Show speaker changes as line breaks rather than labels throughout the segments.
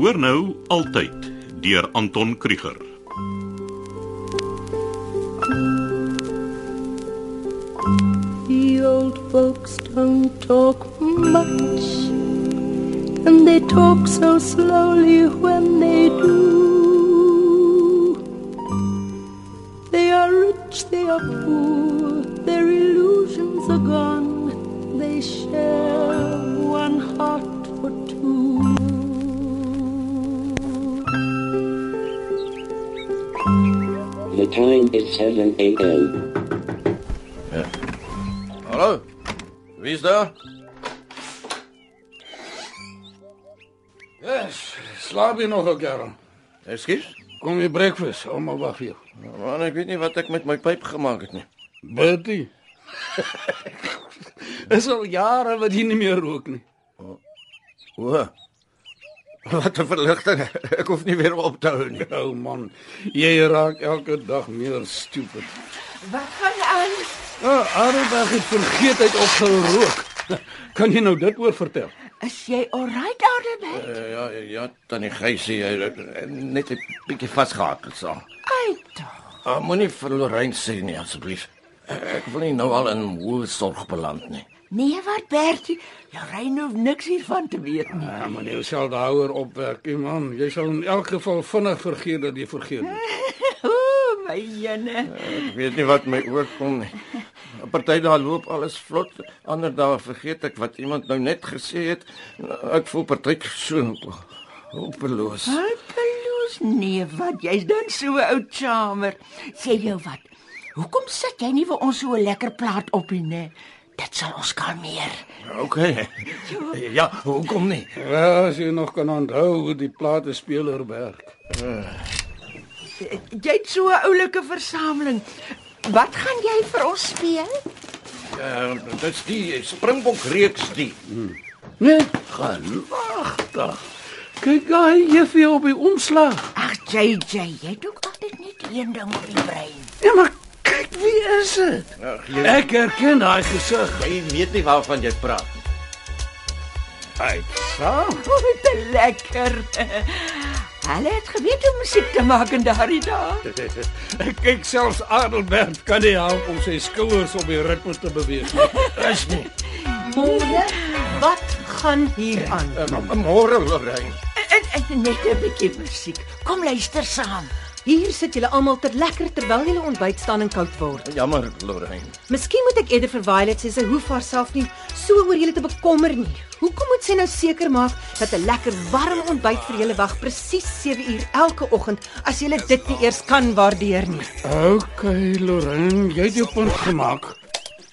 hoor nou altyd deur Anton Krieger.
The old folks don't talk much, and they talk so slowly when they do. They are rich, they are poor, their illusions are gone. They share one heart for two.
The time is 7 a.m.
Hallo? Wie is daar?
Yes, slaap je nogal, Karel?
Ekskuus.
Kom je breakfast, allemaal wacht hier.
Man, ek Nou, weet nie wat ek met my pyp gemaak het nie.
Bertie. is al jaren wat hier niet meer rook nee. nie.
O. Oh, Wat 'n verligting. Ek hoef nie weer op te hou nee. nie.
Oh man, jij raakt elke dag meer stupid.
Wat gaan aan?
Ah, Arendag het vergeet uit opgerook. Kan je nou dit oor vertel?
Is jy alright daarmee?
Ja, ja, ja, tannie Geusie, net 'n bietjie vasgehaak so.
Ai tog.
Ah, Moenie vir Lorraine sê nie asseblief. Ek wil nie nou al in woelsorg beland nie.
Nee, wat Bertie? Jy ry nou niks hiervan te weet nie.
Ja, maar jy sal daar oor opwerk, hè, man. Jy sal in elk geval vinnig vergeet dat jy vergeet het.
Ooh, my jene.
Ek weet nie wat my oorkom nie. 'n Party daar loop alles vlot, ander dae vergeet ek wat iemand nou net gesê het. Ek voel partyk so hopeloos.
Hulpeloos nee, wat? Jy's dan so 'n ou charmer. Sê jou wat? Hoekom sit jy nie vir ons so 'n lekker plaat op nie, né? Dit sal ons kalmeer.
Okay. Ja, hoekom nie?
Ja, as jy nog kan onthou hoe die platenspeler werk.
Jy't so 'n oulike versameling. Wat gaan jy vir ons speel?
Uh, dis die Springbok reeks die.
Nee, genagtig. Kyk daar, juffie op die omslag.
Ag JJ, jy doen altyd net een ding op die brein.
Ja, maar kyk wie is dit?
Ag, jy,
Ek herken daai gesig.
jy weet nie waarvan jy praat.
Uit. Saam.
Oh, te lekker. Hulle het geweet hoe musiek te maak in daardie dae.
Ek kyk selfs Adelbert kan nie help om sy skouers op die ritme te beweeg nie.
Is nie.
Môre, wat gaan hier aan?
Uh, Môre Lorraine.
En, en net 'n bietjie musiek. Kom luister saam.
Hier sit julle almal ter lekker terwyl julle ontbyt staan en koud word.
Jammer Lorraine.
Miskien moet ek eerder vir Violet sê sy hoef haarself nie so oor julle te bekommer nie. Hoekom moet sy nou seker maak dat 'n lekker warm ontbyt vir julle wag presies 7 uur elke oggend as julle dit nie eers kan waardeer nie?
OK, Lorraine, jy het jou punt gemaak.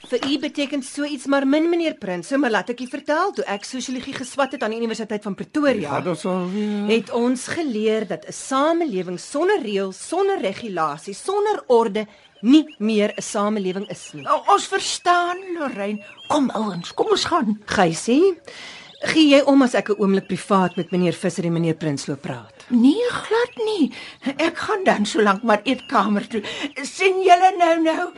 Vir u beteken so iets maar min meneer Prins. So maar laat ek u vertel, toe ek sosiologie geswat het aan die Universiteit van Pretoria,
Wat ons
Mm.
alweer.
het ons geleer dat 'n samelewing sonder reëls, sonder regulasies, sonder orde nie meer 'n samelewing is nie.
O, Nou, ons verstaan, Lorraine. Kom ouens, kom ons gaan.
Geusie, gee jy om as ek 'n oomblik privaat met meneer Visser en meneer Prinsloo praat?
Nee, glad nie. Ek gaan dan so lank maar eetkamer toe. sien julle nou nou?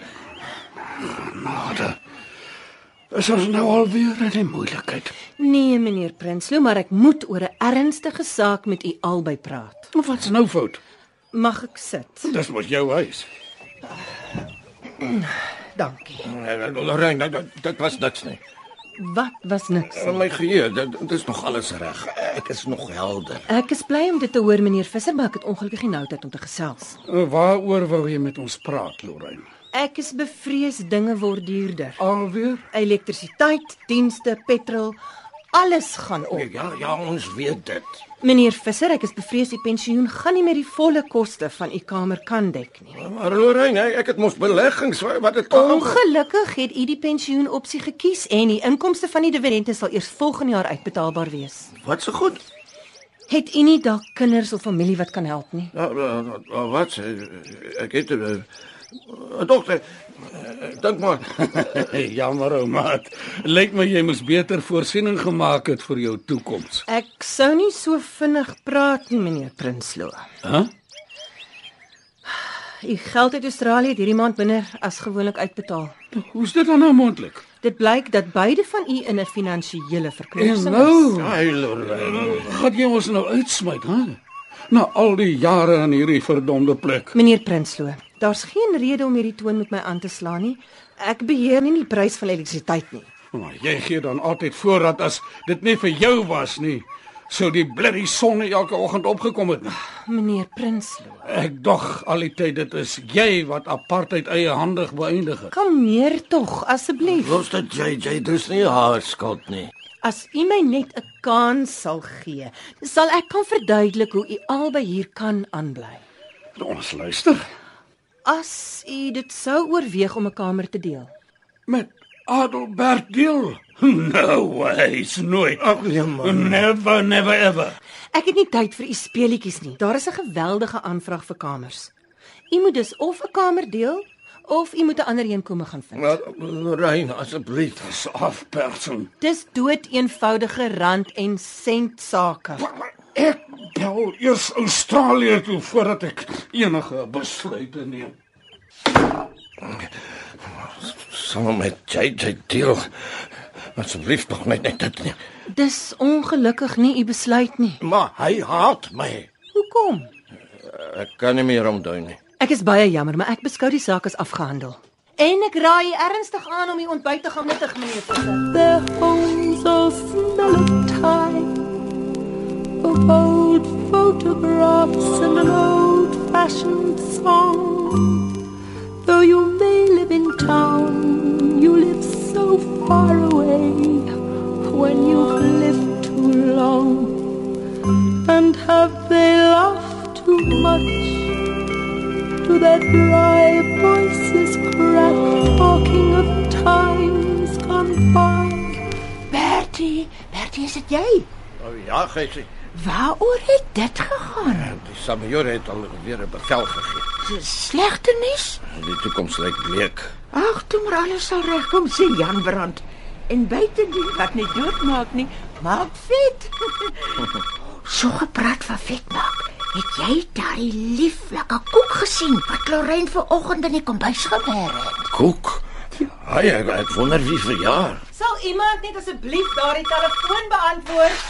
Is ons nou alweer in die moeilikheid?
Nee, meneer Prinsloo, maar ek moet oor 'n ernstige saak met u albei praat.
Maar wat's nou fout?
Mag ek sit?
Dis mos jou huis.
Dankie.
Uh, Lorraine, dit, dit was niks nie.
Wat was niks?
Van my geheue, dit, dit is nog alles reg. Ek is nog helder.
Ek is bly om dit te hoor, meneer Visser, maar ek het ongelukkig nie nou tyd om te gesels.
Uh, Waaroor wou jy met ons praat, Lorraine?
Ek is bevrees dinge word duurder.
Alweer?
Elektrisiteit, dienste, petrol, alles gaan op.
Nee.
Ja, ja, ons weet dit.
Meneer Visser, ek is bevrees u pensioen gaan nie meer die volle koste van u kamer kan dek nie.
Maar Lorraine, hey, ek het mos beleggings, wa- wat het
Ongelukkig het u die pensioenopsie gekies en die inkomste van die dividende sal eers volgende jaar uitbetaalbaar wees.
Wat se so goed?
Het u nie dalk kinders of familie wat kan help nie?
Ja, eh, eh, wat? eh, Ek het 'n eh, dogter. Eh, Dink maar.
Hey, jammer ou maat. Lyk my jy moes beter voorsiening gemaak het vir jou toekoms.
Ek sou nie so vinnig praat nie, meneer Prinsloo.
Hæ? Huh?
U geld uit Australië het hierdie maand minder as gewoonlik uitbetaal.
Hoe's dit dan nou moontlik?
Dit blyk dat beide van u in 'n finansiële
En
verknorsing is.
nou,
Ai, Lorraine.
gaan jy ons nou uitsmyt, hè? Na al die jare in hierdie verdomde plek.
Meneer Prinsloo, daar's geen rede om hierdie toon met my aan te slaan nie. Ek beheer nie die prys van elektrisiteit nie.
Maar jy gee dan altyd voorraad as dit nie vir jou was nie. Sou die blerrie son elke oggend opgekom het.
Meneer Prinsloo,
Ek dog al die tyd dit is jy wat apartheid eie handig beëindig het.
kom meer tog asseblief.
Los dit JJ, dis nie haar skuld nie.
As u my net 'n kans sal gee, sal ek kan verduidelik hoe u albei hier kan aanbly.
Ons luister
As u dit sou oorweeg om 'n kamer te deel.
met Adelbert Deel. No way, it's Nou, nooit. Ag nee man. Never never ever.
Ek het nie tyd vir u speletjies nie. Daar is 'n geweldige aanvraag vir kamers. U moet dus of 'n kamer deel of u moet 'n ander een kom gaan vind.
Maar Lorraine, asseblief.
Dis afpersing.
Dis dood eenvoudige rand en sent sake.
Maar Ek bel eers Australië toe voordat ek enige besluite neem.
Saam met JJ deel. Asseblief tog net net dit nie.
Dis ongelukkig nie u besluit nie.
Maar hy haat my.
Hoekom?
Ek kan nie meer omdui nie.
Ek is baie jammer, maar ek beskou die saak as afgehandel. En ek raai u ernstig aan om u ontbyt te gaan nuttig, meneer Visser.
Their homes all smell of time, of old photographs and an old fashioned song. Though you may live in town, you live so far away when you've lived too long. And have they laughed too much? to their dry voices crack, talking of times gone by.
Bertie, Bertie, is dit jy?
O ja, gesê.
Waaroor het dit gegaan?
Die Samjor het al weer 'n bevel gegee.
Dis slegte nuus.
Die toekoms lyk bleek.
Ag, toe maar alles sal regkom, sê Jan Brand. En buitendien wat nie doodmaak nie, maak vet. so gepraat van vet maak. Het jy daai lieflike koek gesien wat Lorraine vanoggend in die kombuis gewerk het?
Koek. Ai, ek, ek wonder wie verjaar.
Sal iemand net asseblief daardie telefoon beantwoord?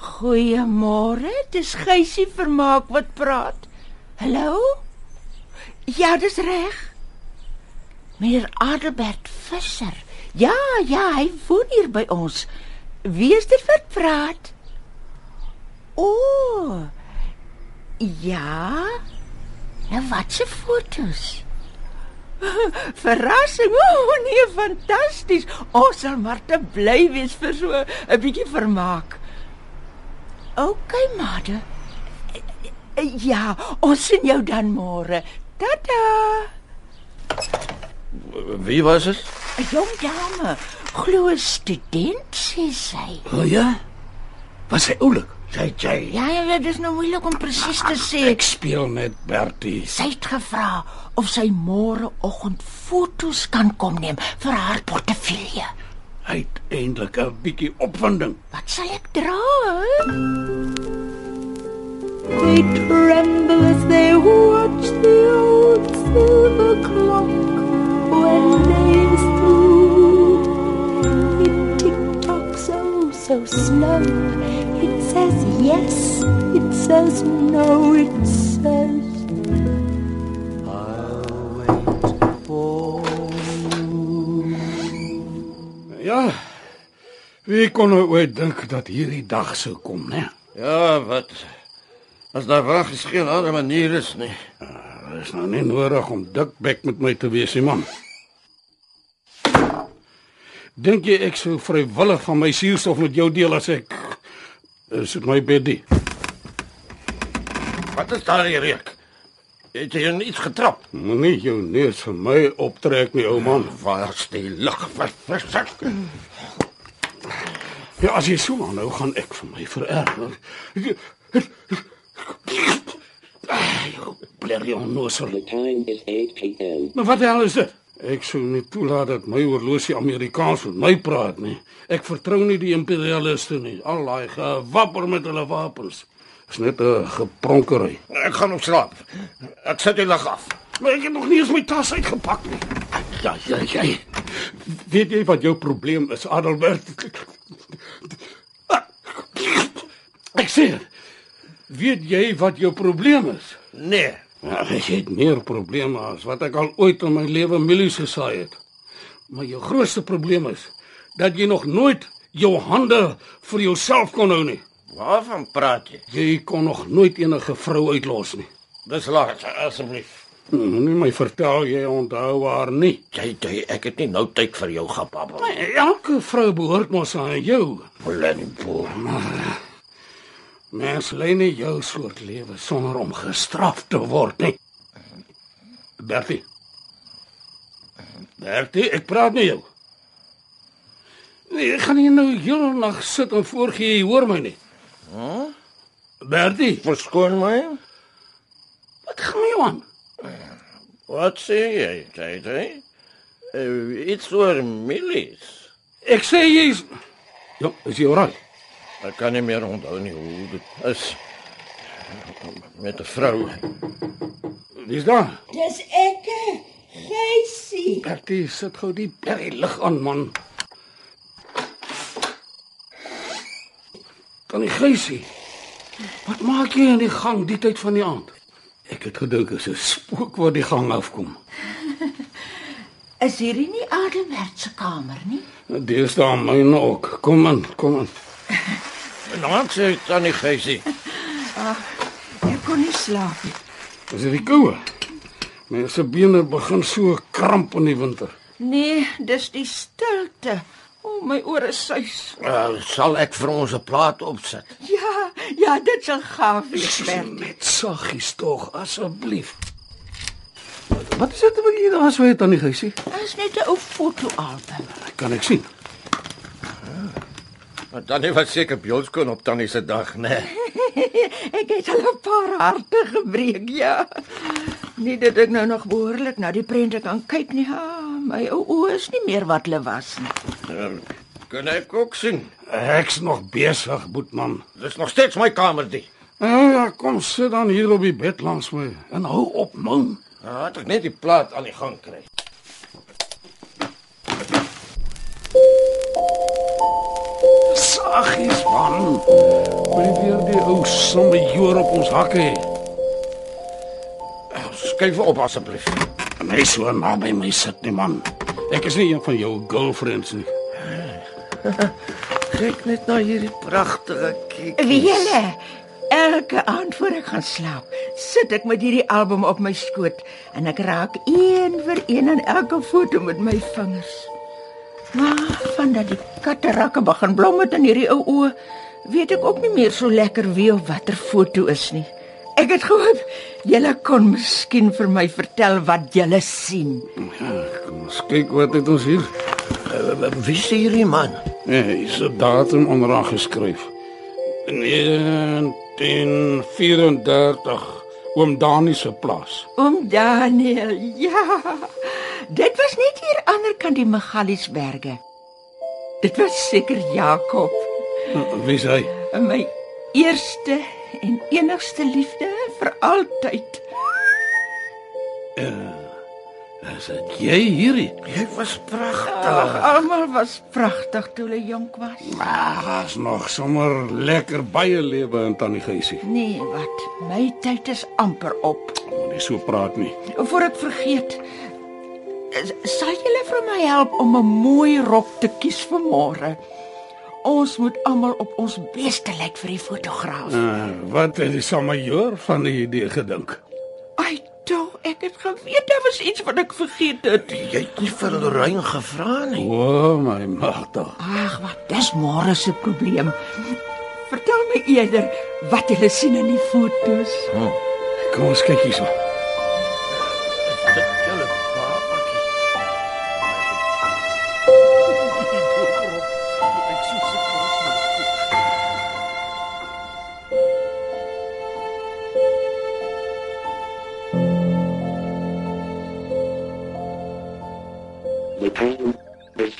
Goeiemôre, dis Geusie Vermaak wat praat. Hallo? Ja, dis reg. Meneer Adelbert Visser. Ja, ja, hy woon hier by ons. Wie is dit wat praat? O. Oh, ja. Nou wat se fotos? Verrassing. O oh, nee, fantasties. Ons sal maar te bly wees vir so 'n bietjie vermaak. OK, Made. Ja, ons sien jou dan môre. Tada!
Wie was dit?
'n Jong dame, glo 'n student sê sy.
O ja. Was hy oulik?
JJ.
Ja, ja, ja, dis nou moeilik om presies te sê.
Ek speel met Bertie.
Sy het gevra of sy môreoggend fotos kan kom neem vir haar portefeulje.
Uiteindelik 'n bietjie opwinding.
Wat sal ek dra? hè?
They tremble as they watch the old silver clock when days through. It tick tocks oh so slow. It says yes, it says no, it says
Ja. Wie kon nou ooit dink dat hierdie dag sou kom, né?
Ja, wat? As daar vraag is geen ander manier is nie.
Dit is nou nie nodig om dikbek met my te wees, nie, man. Dink jy ek sou vrywillig van my suurstof met jou deel as ek is dit my bedie?
Wat is daar hier reek? Het jy in iets getrap?
Moenie jou neus vir my optrek nie, ou man.
Waar is die lug verfrisser?
Ja, as jy so aanhou, gaan ek vir my vererger. Ai, Jou blerrie onnoosel.
The time is 8 p.m.
Maar wat die hel is dit? Ek sou nie toelaat dat my oorlosie Amerikaans met my praat nie. Ek vertrou nie die imperialiste nie. Al daai gewapper met hulle wapens. Is net 'n gepronkery.
Ek gaan op slaap. Ek sit die lug af.
Maar ek het nog nie eens my tas uitgepak nie. Ja, ja, ja. Weet jy wat jou probleem is, Adelbert? Ek sê, dit. weet jy wat jou probleem is?
Nee.
Ja, jy het meer probleme as wat ek al ooit in my lewe mielies gesaai het. Maar jou grootste probleem is dat jy nog nooit jou hande vir jouself kon hou nie.
Waarvan praat jy?
Jy kon nog nooit enige vrou uitlos nie.
Dis laat asseblief.
Moenie my vertel jy onthou haar nie.
Jy jy ek het nie nou tyd vir jou gebabbel.
Nee, Elke vrou behoort mos aan jou.
Blenboer.
Mens lei nie jou soort lewe sonder om gestraf te word nie. Bertie. Bertie, ek praat met jou. Nee, ek gaan nie nou heel nag sit en voorgee jy hoor my nie. Bertie,
Verskoon my.
wat gaan jy aan?
Wat sê jy, jy jy? Uh, iets oor milies.
Ek sê jy's Ja, is jy reg?
Ek kan nie meer onthou nie hoe dit is met 'n vrou.
Wie's daar?
Dis ek, eh, Geusie.
Bertie, sit gou die berry lig aan, man. Kan nie geusie. Wat maak jy in die gang die tyd van die aand? Ek het gedink dit is 'n spook wat die gang afkom.
Is hierdie nie Adelbert se kamer nie?
Dis daar myne ook. Kom aan, kom aan.
Nou sê tannie Geusie,
Ek kon nie slaap nie.
Is dit die koue? My se bene begin so kramp in die winter.
Nee, dis die stilte. O, my ore suis.
uh, sal ek vir ons 'n plaat opsit?
Ja, ja, dit sal gaaf wees, Bert.
Net saggies tog, asseblief. Wat- Wat is dit wat jy daar so het aan die geusie?
Dis net 'n ou fotoalbum.
Kan ek sien?
Want tannie was seker bioskoon op tannie se dag, né? Nee.
Ek het al 'n paar harte gebreek, ja. Nie dat ek nou nog behoorlik na die prente kan kyk nie. Ha, my ou oë is nie meer wat hulle was nie.
Kan ek Eh, ook sien?
Ek's nog besig, boetman.
Dis nog steeds my kamer die.
Ja, ja, kom sit dan hier op die bed langs my en hou op mou.
Nou het ek net die plaat aan die gang kry.
Saggies man. Bly weer die ou somme joor op ons hakke. hê.
Skuif op asseblief.
Nee, so naby my sit nie man. Ek is nie een van jou girlfriends nie.
Kyk net na hierdie pragtige kiek.
Wie julle? Elke aand voor ek gaan slaap, sit ek met hierdie album op my skoot en ek raak een vir een aan elke foto met my vingers. Maar vandat die katarakke begin blom het in hierdie ou oë, weet ek ook nie meer so lekker wie of watter foto is nie. Ek het gehoop julle kon miskien vir my vertel wat julle sien.
Ja, kom ons kyk wat het ons hier. Eh,
Wie is hierdie man?
Nee, hier is 'n datum onderaan geskryf. 1934 Oom Dani se plaas.
Oom Daniel, ja. Dit was net hier ander kant die Magaliesberge. Dit was seker Jakob,
Wie is hy?
my eerste en enigste liefde vir altyd.
Is dit jy hierdie?
Jy was pragtig.
Ag, almal was pragtig toe hulle jonk was.
Ag, daar's Ah, nog sommer lekker baie lewe in Tannie Geusie.
Nee, wat? My tyd is amper op.
Moenie so praat nie.
Voor ek vergeet, s- sal julle vir my help om 'n mooi rok te kies vir môre? Ons moet almal op ons beste lyk vir die fotograaf.
Uh, wat het die samajoor van die idee gedink?
Ai, toe, ek het geweet daar was iets wat ek vergeet het.
Jy het nie vir Lorraine gevra nie.
O, oh, my magtig.
Ag, wat dis môre se probleem. Vertel my eerder wat jy sien in die fotos.
Kom ons kyk hierso.
Julle papakkie.
The time is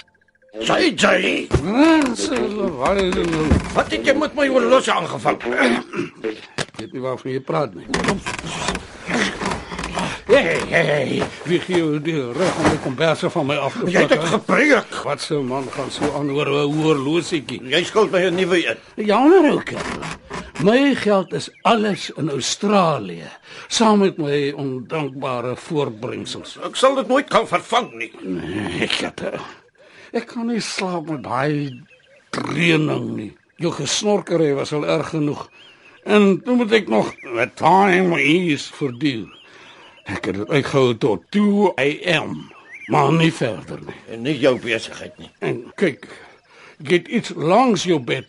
Jy jy.
Mense, lawaai. Ek
Wat het jy met my horlosie aangevang?
weet nie waarvan jy praat nie.
Hé,
Hey, hey, wie gee jou die rug om die komberse van my af te
Jy het dit
hè?
gebruik.
Wat so 'n man gaan so aan oor 'n oorlosietjie.
Jy skuld my 'n nuwe een.
Ja, maar ook. My geld is alles in Australië, saam met my ondankbare voortbrengsels.
Ek sal dit nooit kan vervang nie.
Nee, Ek het eh, ek kan nie slaap met daai dreuning nie. Jou gesnorkery was al erg genoeg. En toe moet ek nog the time is verdeel. Ek het dit uitgehou tot 2 am, maar nie verder nie.
En nie jou besigheid nie.
En kyk, jy het iets langs jou bed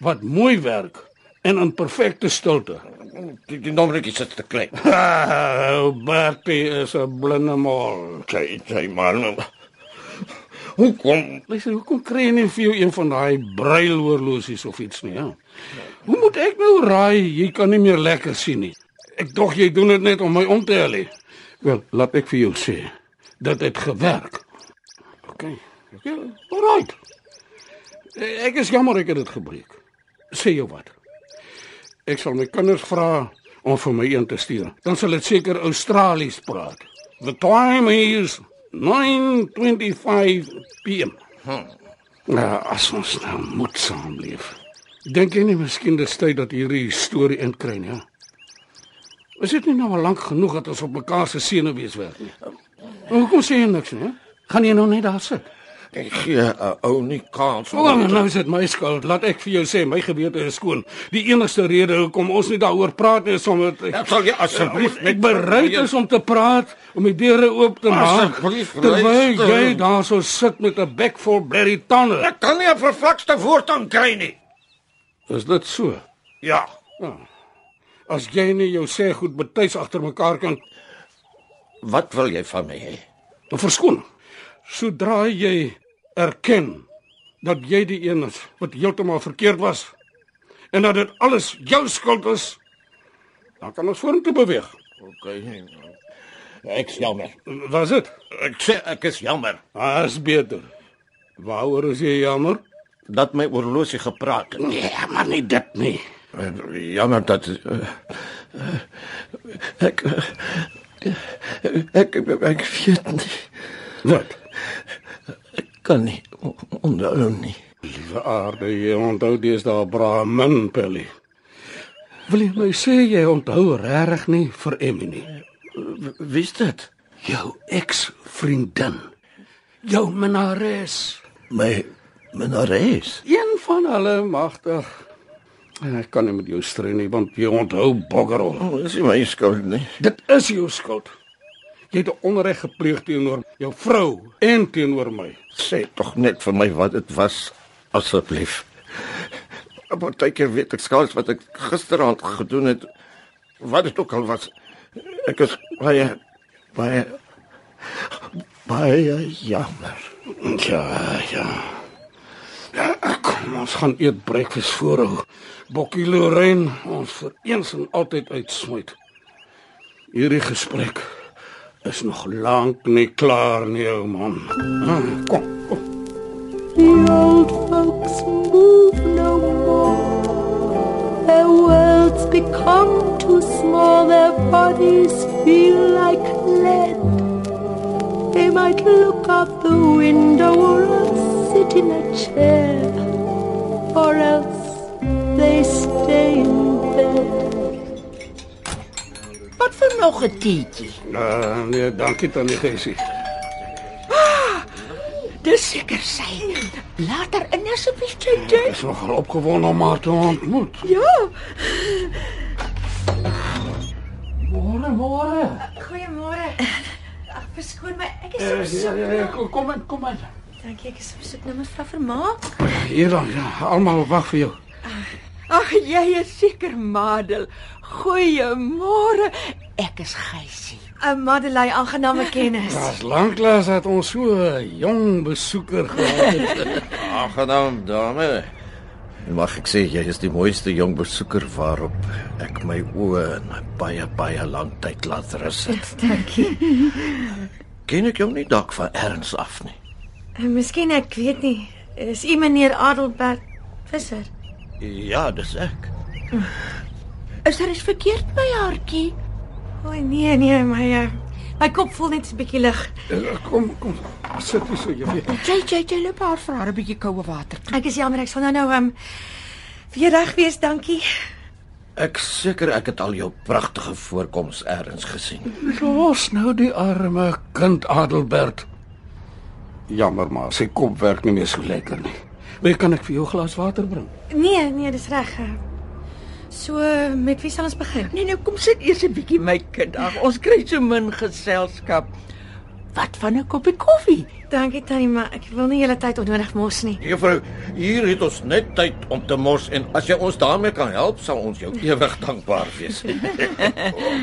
wat mooi werk en in perfekte stilte.
Die, die nommertjie sit te klein.
Ah, Bertie is 'n blinde mal.
Jy, jy man. nou, Hoe kom
Luister, hoekom kry jy nie vir jou een van daai bruiloorlosies of iets nie, ja? Hoe moet ek nou raai jy kan nie meer lekker sien nie? Ek dog jy doen dit net om my om te hel. hè? Wel, laat ek vir jou sê, dit het gewerk. OK. OK. Alright. Ek is jammer ek het dit gebreek. Sê jou wat. Ek sal my kinders vra om vir my een te stuur. Dan sal dit seker Australies praat. The time is 9:25 p.m. Nou, as ons nou moet saamleef. Dink jy nie miskien dis tyd dat hierdie storie inkry nie? hè? Is dit nie nou al lank genoeg dat ons op mekaar se senuwees werk nie? Hoekom sê jy niks nie? hè? Gaan jy nou net daar sit?
ek gee 'n ou nie kans
O,
om
nou is dit my skuld. Laat ek vir jou sê, my gewete is skoon. Die enigste rede hoekom ons nie daaroor praat nie is omdat
Ek sal jy asseblief
Ek bereid is om te praat, om die deure oop te maak.
Asseblief,
terwyl
luister.
jy daarso sit met 'n bek vol blerrie tande.
Ek kan nie 'n vervlakste woord aan kry nie.
Is dit so?
Ja.
As jy nie jou sê goed betyds agter mekaar kan
Wat wil jy van my hê?
dan verskoon. Sodra jy erken dat jy die een is wat heeltemal verkeerd was en dat dit alles jou skuld is, dan kan ons vorentoe beweeg.
OK. nee, Ek's jammer.
Was dit?
Ek sê ek is jammer
As beter. Waaroor is jy jammer?
dat my oorlosie gepraat het.
Nee, maar nie dit nie.
Eh, Jammer dat eh, eh, ek eh, ek ek, ek weet nie.
Wat?
Kan nie on- onthou nie.
Liewe aarde, jy onthou deesdae bra min pelly. Wil jy my sê jy onthou regtig nie vir Emmy nie?
Wie's dit?
Jou ex-vriendin. Jou minares.
My minares.
Een van hulle magtig. En Ek kan nie met jou strei nie want jy onthou boggerol.
Oh, dis nie my skuld nie.
Dit is jou skuld. Jy het 'n onreg gepleeg teenoor jou vrou en teenoor my.
Sê tog net vir my wat dit was asseblief. 'n Partykeer weet ek skaars wat ek gisteraand gedoen het. Wat dit ook al was. Ek is baie baie baie jammer.
Ja, ja. Ja, kom, ons gaan eet breakfast voorhou. Bokkie Lorraine, ons vir eens en altyd uitsmyt. Hierdie gesprek is nog lank nie klaar nie, ou man. Ah, Kom, kom.
The old folks move no more. Their worlds become too small, their bodies feel like lead. They might look out the window or else sit in a chair, or else they stay in bed.
Wat vir nog 'n teetjie?
Uh, nee, dankie tannie Gesie.
Dis seker sy. Laat haar in asseblief sy deur.
Is nogal opgewonde om haar te ontmoet.
Ja.
Môre, môre.
Goeiemôre. Ag, verskoon my. Ek is
Eh, Ja, ja, ja, kom- kom in, kom in.
Dankie, ek is op soek na mevrou Vermaak.
Hier dan, ja, almal wag vir jou.
Ag, jy is seker Madel. Goeiemôre. Ek is Geusie.
Uh, Madeleine, aangename kennis.
Daar's lanklaas dat ons so 'n jong besoeker gehad het.
Aangenaam dame. En mag ek sê jy is die mooiste jong besoeker waarop ek my oë in baie baie lang tyd laat rus het. Dankie. Ken ek jou nie dalk van erns af nie.
Eh, Miskien ek weet nie. Is u meneer Adelbert Visser?
Ja, dis ek.
Is daar iets verkeerd by haartjie?
O nee nee, my eh,
My kop voel net 'n bietjie lig.
Eh, Kom, kom. Sit hier so, juffie.
Jy jy jy loop haar vir haar 'n bietjie koue water.
Ek is jammer, ek sal nou nou ehm um, weer reg wees, dankie.
Ek seker ek het al jou pragtige voorkoms elders gesien.
Los nou die arme kind Adelbert. Jammer maar, sy kop werk nie meer so lekker nie. Wie kan ek vir jou 'n glas water bring?
Nee, nee, dis reg. eh. So, met wie sal ons begin?
Nee, nou kom sit eers 'n bietjie my kind af. Ons kry so min geselskap. Wat van 'n koppie koffie?
Dankie tannie, maar ek wil nie julle tyd onnodig mors nie.
Juffrou, hier het ons net tyd om te mors en as jy ons daarmee kan help, sal ons jou ewig dankbaar wees.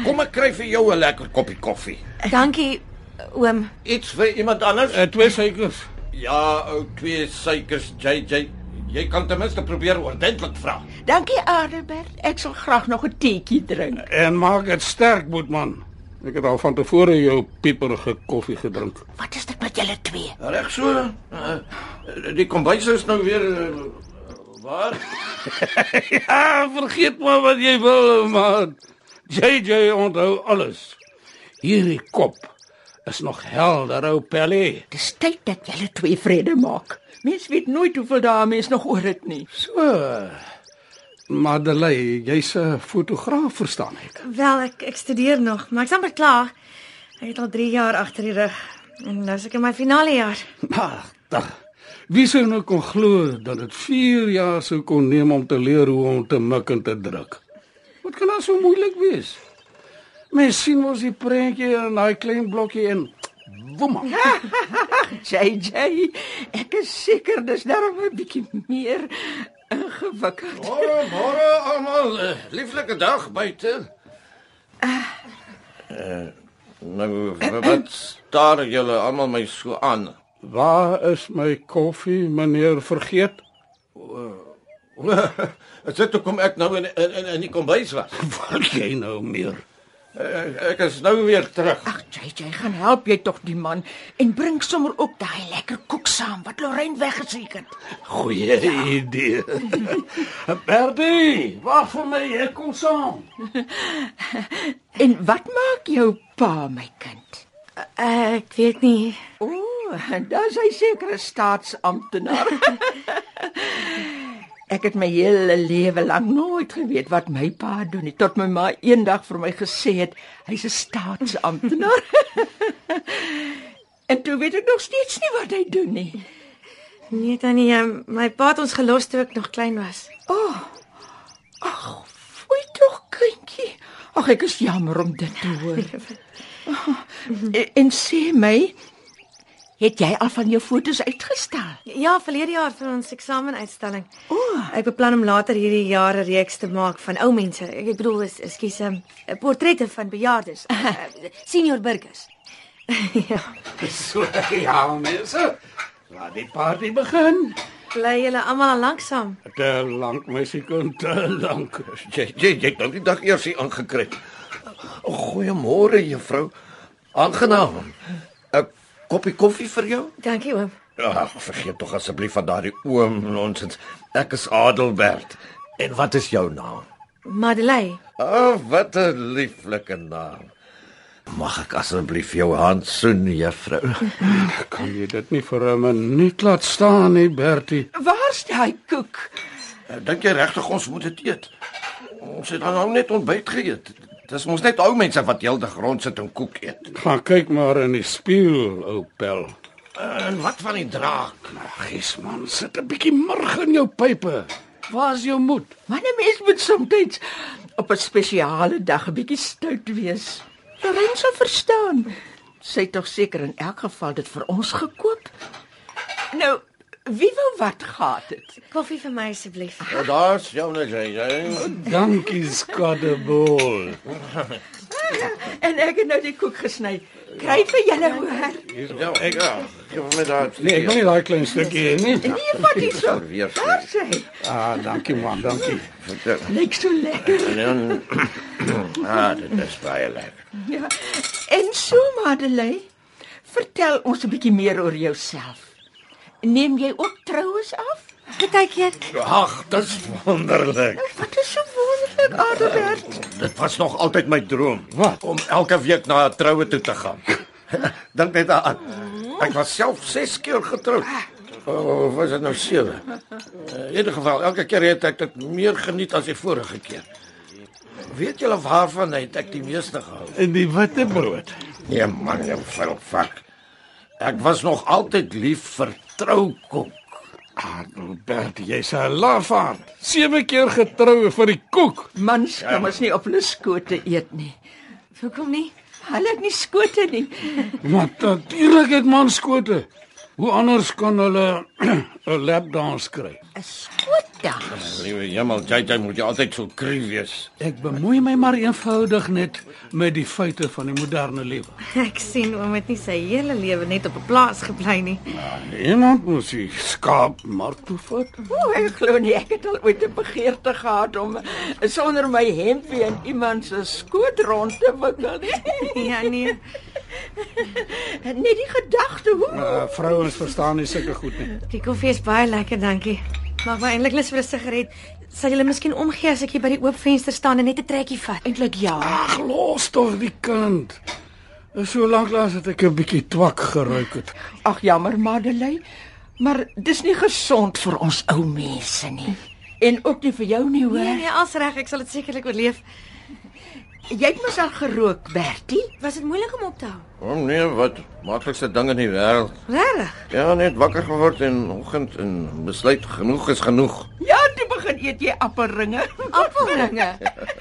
Kom ek kry vir jou 'n lekker koppie koffie.
Dankie, oom.
Iets vir iemand anders?
Uh, twee suikers.
Ja, ou twee suikers JJ. Jy kan ten minste probeer ordentlik vra.
Dankie Adelbert. Ek sal graag nog 'n teetjie drink.
En maak dit sterk, Boetman. Ek het al van tevore jou pieperige koffie gedrink.
Wat is dit met julle twee?
Reg so. eh,
Die kombuis is nou weer eh, waar?
Ja, vergeet maar wat jy wil, maar JJ onthou alles. Hierdie kop is nog helder, ou Pelly.
Dis tyd dat julle twee vrede maak. Mens weet nooit hoeveel dae mens nog oor het nie.
So. Madeleine, jy's 'n fotograaf, verstaan ek.
Wel, ek ek studeer nog, maar ek's amper klaar. Ek het al 3 jaar agter die rug en nou is ek in my finale jaar.
Magtig. Wie sou nou kon glo dat dit 4 jaar sou kon neem om te leer hoe om te mik en te druk? Wat kan nou so moeilik wees? Mens sien mos die prentjie in daai klein blokkie en woema.
JJ, ek is seker dis darm 'n bietjie meer ingewikkeld.
Môre, môre almal. eh, Lieflike dag buite. Uh, nou, w- wat staar julle almal my so aan?
Waar is my koffie, meneer vergeet?
Dit sê toe kom ek nou in in in, in die kombuis was.
Wat jy nou meer?
Ek, ek is nou weer terug.
Ag JJ, gaan help jy tog die man en bring sommer ook daai lekker koek saam wat Lorraine weggeseek het.
Goeie idee.
Eh,
Bertie, wag vir my, ek kom saam.
En wat maak jou pa, my kind?
Uh, ek weet nie.
O, dan is hy seker 'n staatsamptenaar. Ek het my hele lewe lank nooit geweet wat my pa doen nie tot my ma eendag vir my gesê het hy's 'n staatsamptenaar. en toe weet ek nog steeds nie wat hy doen nie.
Nee tannie, ehm, my pa het ons gelos toe ek nog klein was.
Foei tog kindjie. Ag ek is jammer om dit te hoor. en, en sê my, het jy al van jou fotos uitgestel?
Ja, verlede jaar vir ons eksamenuitstalling.
O,
Ek beplan om later hierdie jaar 'n reeks te maak van ou mense. Ek bedoel, is ekskuus, ehm, portrette van bejaardes, eh, senior burgers. ja.
So ja, mense. Laat die party begin.
Bly julle almal al lanksaam.
Te lank, meisiekind, te lank.
Jy jy jy het nou die dag eers hier aangekry. Goeiemôre juffrou. Aangenaam. 'n Koppie koffie vir jou?
Dankie oom.
Ag, vergeet tog asseblief van daardie oom nonsens. Ek is Adelbert. En wat is jou naam?
Madeleine,
Oh, wat 'n lieflike naam. Mag ek asseblief jou hand soen, juffrou?
Kan jy dit nie vir 'n minuut laat staan nie, Bertie?
waar's daai koek?
Nou, Dink jy regtig ons moet dit eet? Ons het dan nou net ontbyt geëet. Dis mos net ou mense wat heeldag rond sit en koek eet.
Gaan kyk maar in die spieël, ou pel.
En wat van die draak? Nou,
Ag, man, sit 'n bietjie murg in jou pype. Waar's jou moed?
Maar 'n mens moet soms op 'n spesiale dag 'n bietjie stout wees. Lorraine sal verstaan. Sy het tog seker in elk geval dit vir ons gekoop. Nou, wie wou wat gehad het?
koffie vir my asseblief.
Nou daar's jou net jy. jy.
Dankie, Skadebol.
En ek het nou die koek gesny. Kry vir julle hoor.
Ja, ek ja. Gee my daai.
Nee, ek wil nie daai klein stukkie hê nie.
Nee, vat dit so.
Weer.
Daar sê.
Ah, dankie man, dankie.
Lyk so lekker.
En dan ah, dit is baie lekker.
Ja. En so Madeleine, vertel ons 'n bietjie meer oor jouself. Neem jy ook troues af?
Partykeer
Ag, dis wonderlik.
Wat is so wonderlik?
dit, Adelbert?
Dit was nog altyd my droom.
Wat?
Om elke week na 'n troue toe te gaan. Dink net daaraan. Ek was self 6 keer getroud.
Oh, was dit nou sewe?
Eh, In ieder geval, elke keer het ek dit meer geniet as die vorige keer. Weet julle waarvan het ek die meeste gehou?
En die witte brood.
Nee man, jou vuil vak. Ek was nog altyd lief vir troukoek.
Adelbert, jy's 'n lafaard. Sewe keer getrou vir die koek.
Mans
Ja.
kan mos nie op hulle skote eet nie.
Hoekom nie?
Hulle het nie skote nie.
Maar natuurlik het man skote. Hoe anders kan hulle 'n lapdans kry?
'n Skootdans.
Liewe hemel, JJ moet jy altyd so kry wees.
Ek bemoei my maar eenvoudig net met die feite van die moderne lewe.
Ek sien oom het nie sy hele lewe net op 'n plaas gebly nie.
Iemand moet die skaap mark toe vat.
O, ek glo nie ek het al ooit 'n begeerte gehad om sonder my hempie in iemand se skoot rond te wikkel nie.
Ja nee.
Net die gedagte
Ja.
hoe
Uh, vrouens verstaan nie sulke goed nie.
Die koffie is baie lekker, dankie. Maak my eintlik lus vir 'n sigaret. Sal julle miskien omgee as ek hier by die oop venster staan en net 'n trekkie vat?
eintlik ja.
Ag, los tog die kind. Is so lank lank dat ek 'n bietjie twak geruik het.
Ag jammer Madeleine, maar dis nie gesond vir ons ou mense nie. En ook nie vir jou nie
Nee
hoor.
nee, als reg, ek sal dit sekerlik oorleef.
nee. Jy het mos al gerook, Bertie.
Was dit moeilik om op te hou?
Om nee, wat maklikste ding in die wêreld.
Regtig?
Ja, net wakker geword en oggend en besluit genoeg is genoeg.
Ja, toe begin eet jy appelringe.
Appelringe.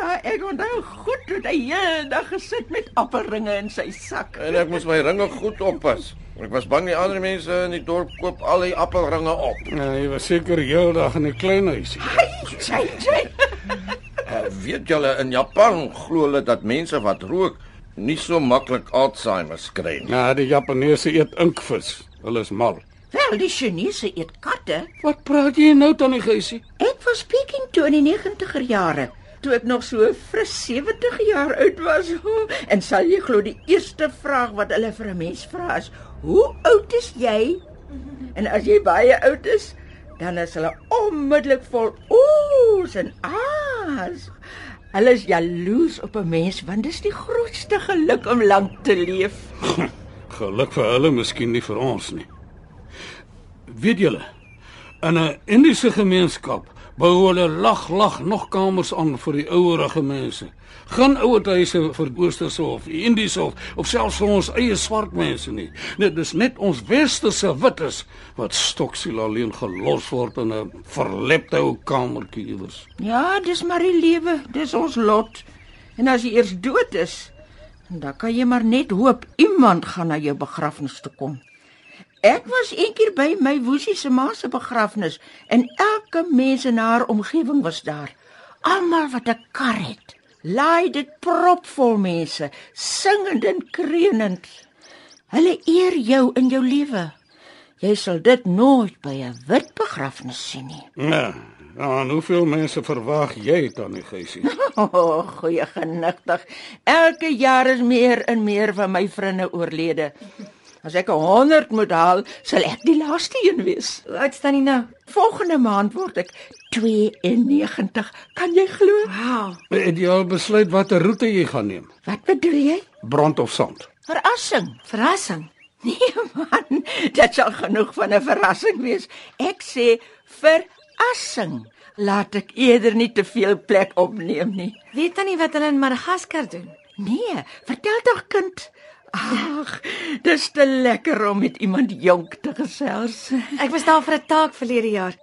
Ja, ek onthou goed hoe hy hele dag gesit met appelringe in sy sak.
En ek moes my ringe goed oppas. Ek was bang die ander mense in die dorp koop al die appelringe op.
Nee, jy was seker heeldag in 'n klein huisie.
Sy sê
Eh, Weet julle in Japan glo hulle dat mense wat rook nie so maklik Alzheimer kry nie.
Ja, die Japaneese eet inkvis. Hulle is mal.
Wel, die Chinese eet katte.
Wat praat jy nou tannie Geusie?
Ek was speaking toe in die 90er jare, toe ek nog so fris 70 jaar oud was. En sal jy glo die eerste vraag wat hulle vir 'n mens vra is: "Hoe oud is jy?" En as jy baie oud is, dan is hulle onmiddellik vol oes en aas. Hulle is jaloers op 'n mens want dis die grootste geluk om lank te leef.
Geluk vir hulle, miskien nie vir ons nie. Weet julle, in 'n Indiese gemeenskap bou hulle lag lag nog kamers aan vir die ouerige mense. Geen ouerhuise vir oosterse of Indiese of, of selfs vir ons eie swart mense nie. Dit dis net ons westerse wites wat stoksiel alleen gelos word in 'n verlepte ou kamertjie iewers.
Ja, dis maar die lewe, dis ons lot. En as jy eers dood is, dan kan jy maar net hoop iemand gaan na jou begrafnis toe kom. Ek was eendag by my woesie se ma se begrafnis en elke mens in haar omgewing was daar. Almal wat 'n kar het. Laai dit propvol mense, singend en kreunend. Hulle eer jou in jou lewe. Jy sal dit nooit by 'n wit begrafnis sien nie.
Ja, en hoeveel mense verwag jy tannie Geusie?
O, oh, goeie genigtig. Elke jaar is meer en meer van my vriende oorlede. As ek 'n 100 moet haal, sal ek die laaste een wees.
Hoe oud staan jy nou?
Volgende maand word ek 92. Kan jy glo?
Wow.
Het jy al besluit watter roete jy gaan neem?
Wat bedoel jy?
Brand of sand?
Verrassing.
Verrassing.
Nee man, dit sal genoeg van 'n verrassing wees. Ek sê verrassing. Laat ek eerder nie te veel plek opneem nie.
Weet tannie wat hulle in Madagaskar doen?
Nee, vertel tog kind. Ag, dis te lekker om met iemand jonk te gesels.
Ek was daar vir 'n taak verlede jaar.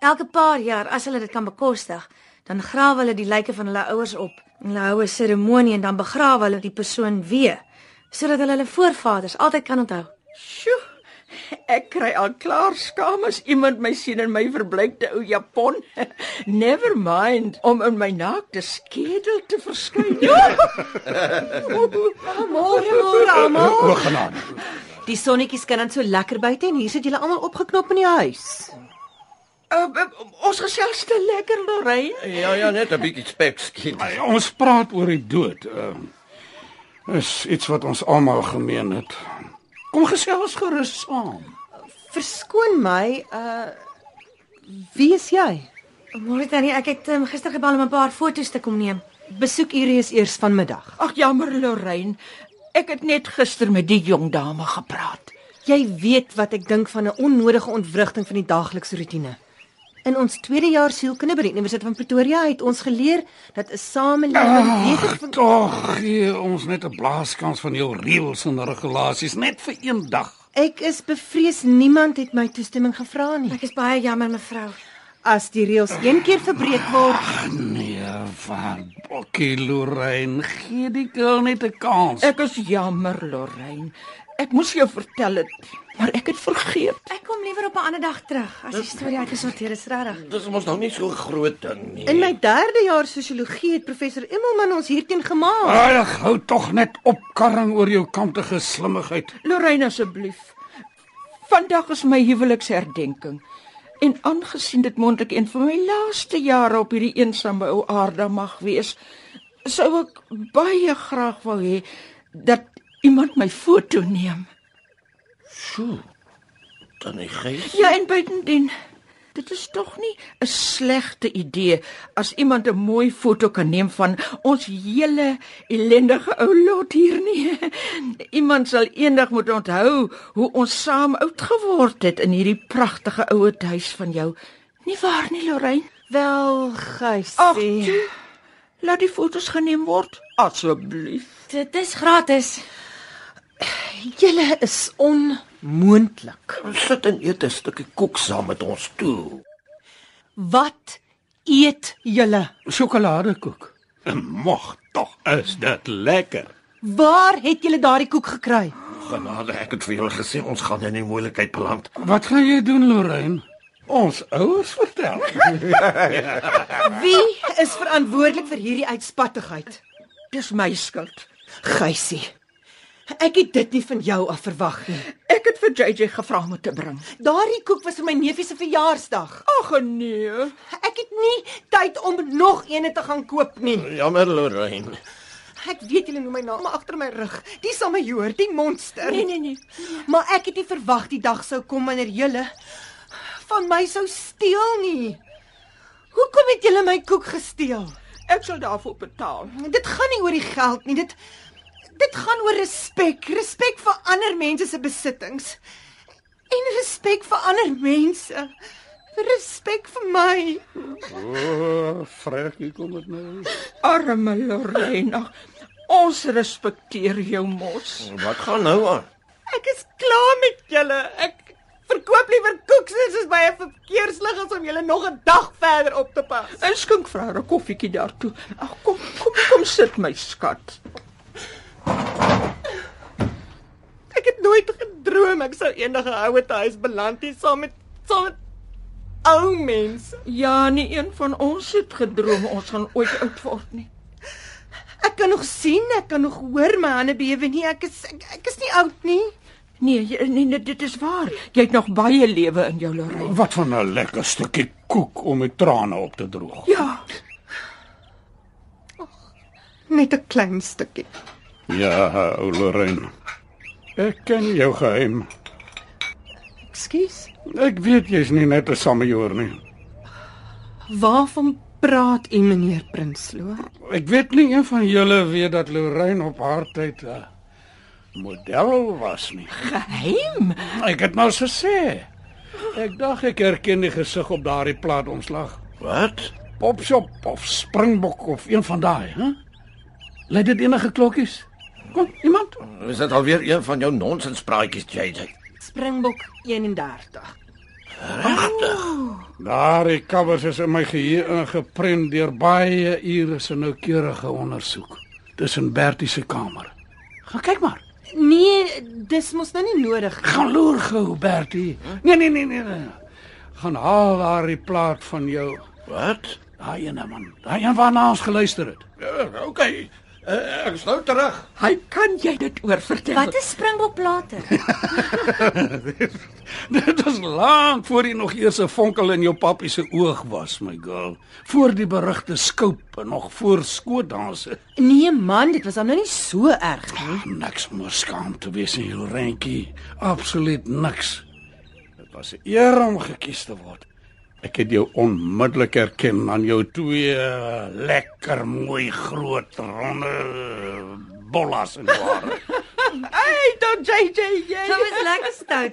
Elke paar jaar, as hulle dit kan bekostig, dan grawe hulle die lyke van hulle ouers op. En Hulle hou 'n seremonie en dan begrawe hulle die persoon weer, sodat hulle hulle voorvaders altyd kan onthou.
Sjoe. Ek kry al klaar skaam as iemand my sien in my verbleikte ou Japon. Never mind om in my naakte skedel te verskyn.
Ja, Môre môre almal.
Ogenaam.
Die sonnetjie skyn dan so lekker buite en hier sit julle almal opgeknop in die huis.
Uh, uh, ons gesels te lekker, Lorraine.
Ja ja, net 'n bietjie spek skiet.
Ons praat oor die dood. Ehm uh, is iets wat ons almal gemeen het. Kom gesels gerus saam.
Verskoon my, uh wie is jy?
Môre tannie, ek het um, gister gebel om 'n paar foto's te kom neem.
Besoekure is eers vanmiddag.
Ag jammer Lorraine. Ek het net gister met die jong dame gepraat.
Jy weet wat ek dink van 'n onnodige ontwrigting van die daaglikse roetine. In ons tweede jaar sielkunde by die Universiteit van Pretoria het ons geleer dat 'n samelewing beter fun-
Tog gee ons net 'n blaaskans van jou reëls en regulasies net vir een dag.
Ek is bevrees niemand het my toestemming gevra nie.
Ek is baie jammer mevrou.
As die reëls een keer verbreek word,
Nee, van Bokkie Lorraine, gee die girl net 'n kans.
Ek is jammer Lorraine. Ek moes jou vertel het, maar ek het vergeet.
Ek kom liewer op 'n ander dag terug as die storie uitgesorteer is regtig.
Dis mos nou nie so groot ding nie.
in my derde jaar sosiologie het professor Immelman ons hierteen gemaak.
Ag, hou tog net op karring oor jou kantige slimmigheid.
Lorraine asseblief. Vandag is my huweliksherdenking. En aangesien dit moontlik een van my laaste jare op hierdie eensame ou aarde mag wees, sou ek baie graag wou hê dat iemand my foto neem.
Sjoe. Tannie Gys.
Ja, en buitendien, dit is tog nie 'n slegte idee as iemand 'n mooi foto kan neem van ons hele ellendige ou lot hier nie. Iemand sal eendag moet onthou hoe ons saam oud geword het in hierdie pragtige ou huis van jou. Nie waar nie, Lorraine?
Wel, Ah.
Ag,
Geusie.
toe, laat die foto's geneem word asseblief.
Dit is gratis.
Julle is onmoontlik.
Sit en eet 'n stukkie koek saam met ons toe.
Wat eet julle?
Sjokoladekoek.
Mag tog, is dit lekker.
Waar het julle daardie koek gekry?
Genade, ek het vir julle gesê ons gaan in die moeilikheid beland.
Wat gaan jy doen, Lorraine? Ons ouers vertel.
Wie is verantwoordelik vir hierdie uitspattigheid?
Dis my skuld.
Geusie. Ek het dit nie van jou af verwag nie.
Ek het vir JJ gevra om dit te bring.
Daardie koek was vir my neefie se verjaarsdag.
Ag nee.
Ek het nie tyd om nog eene te gaan koop nie.
Jammer Lorraine.
Ek weet julle noem my naam agter my rug. Die sal my hoor, die monster.
Nee, nee, nee.
Maar ek het nie verwag die dag sou kom wanneer julle van my sou steel nie. Hoekom het julle my koek gesteel?
Ek sal daarvoor betaal.
Dit gaan nie oor die geld nie. Dit dit gaan oor respek, respek vir ander mense se besittings en respek vir ander mense. Respek vir my.
O, Frekkie, Oh, kom dit nou.
Arme Lorena, ons respekteer jou mos.
Wat gaan nou aan?
Ek is klaar met julle. Ek verkoop liewer koeksers as by 'n verkeerslig as om julle nog 'n dag verder op te pas.
En skink vir haar 'n koffietjie daartoe. Ag kom, kom, kom sit my skat.
Ek het nooit gedroom ek sou eendag 'n ouer huis beland hier saam met saam met ou mense.
Ja, nie een van ons het gedroom ons gaan ooit oud word nie.
Ek kan nog sien, ek kan nog hoor my hande bewe nie. Ek is ek, ek is nie oud nie.
Nee, jy- nee, nee, dit is waar. Jy het nog baie lewe in jou, Lorena.
Wat van 'n lekker stukkie koek om die trane op te droog.
Ja,
Net 'n klein stukkie.
Ja, ou Lorraine. Ek ken jou geheim.
Ekskuus.
Ek weet jy's nie net 'n samejoer nie.
Waarvan praat u meneer Prinsloo?
Ek weet nie een van julle weet dat Lorraine op haar tyd 'n model was nie.
geheim.
Ek het mos gesê. Ek dink ek herken die gesig op daardie plaatomslag.
Wat?
Popshop of Springbok of een van daai, hè? Lei dit enige klokkies? Kom, iemand?
Is dit alweer een van jou nonsenspraatjies, JJ?
Springbok 31.
Daardie covers is in my geheue ingeprent deur baie ure se noukeurige ondersoek. Dis in Bertie se kamer. Gaan kyk maar.
Nee, dis mos nou nie nodig nie.
Gaan loer gou, Bertie. Nee, nee, nee, nee. nee. Gaan haal daardie plaat van jou.
Wat?
Daai ene man. Daai een waarna ons geluister het.
Ja, okay. Uh, ek is nou terug.
Hy kan jy dit oor vertel.
Wat is springbokplate?
Dit was lank voor jy nog eers 'n vonkel in jou papie se oog was, my girl. Voor die berugte skoop en nog voor skootdanse.
Nee man, dit was dan nou nie so erg nie.
Niks om oor skaam te wees nie, Rentjie. Absoluut niks. Dit was 'n eer om gekies te word. Ek het jou onmiddellik herken aan jou twee eh, lekker mooi groot ronde bollas in jou hare.
Hey, dan JJ,
Dit was lekker stout.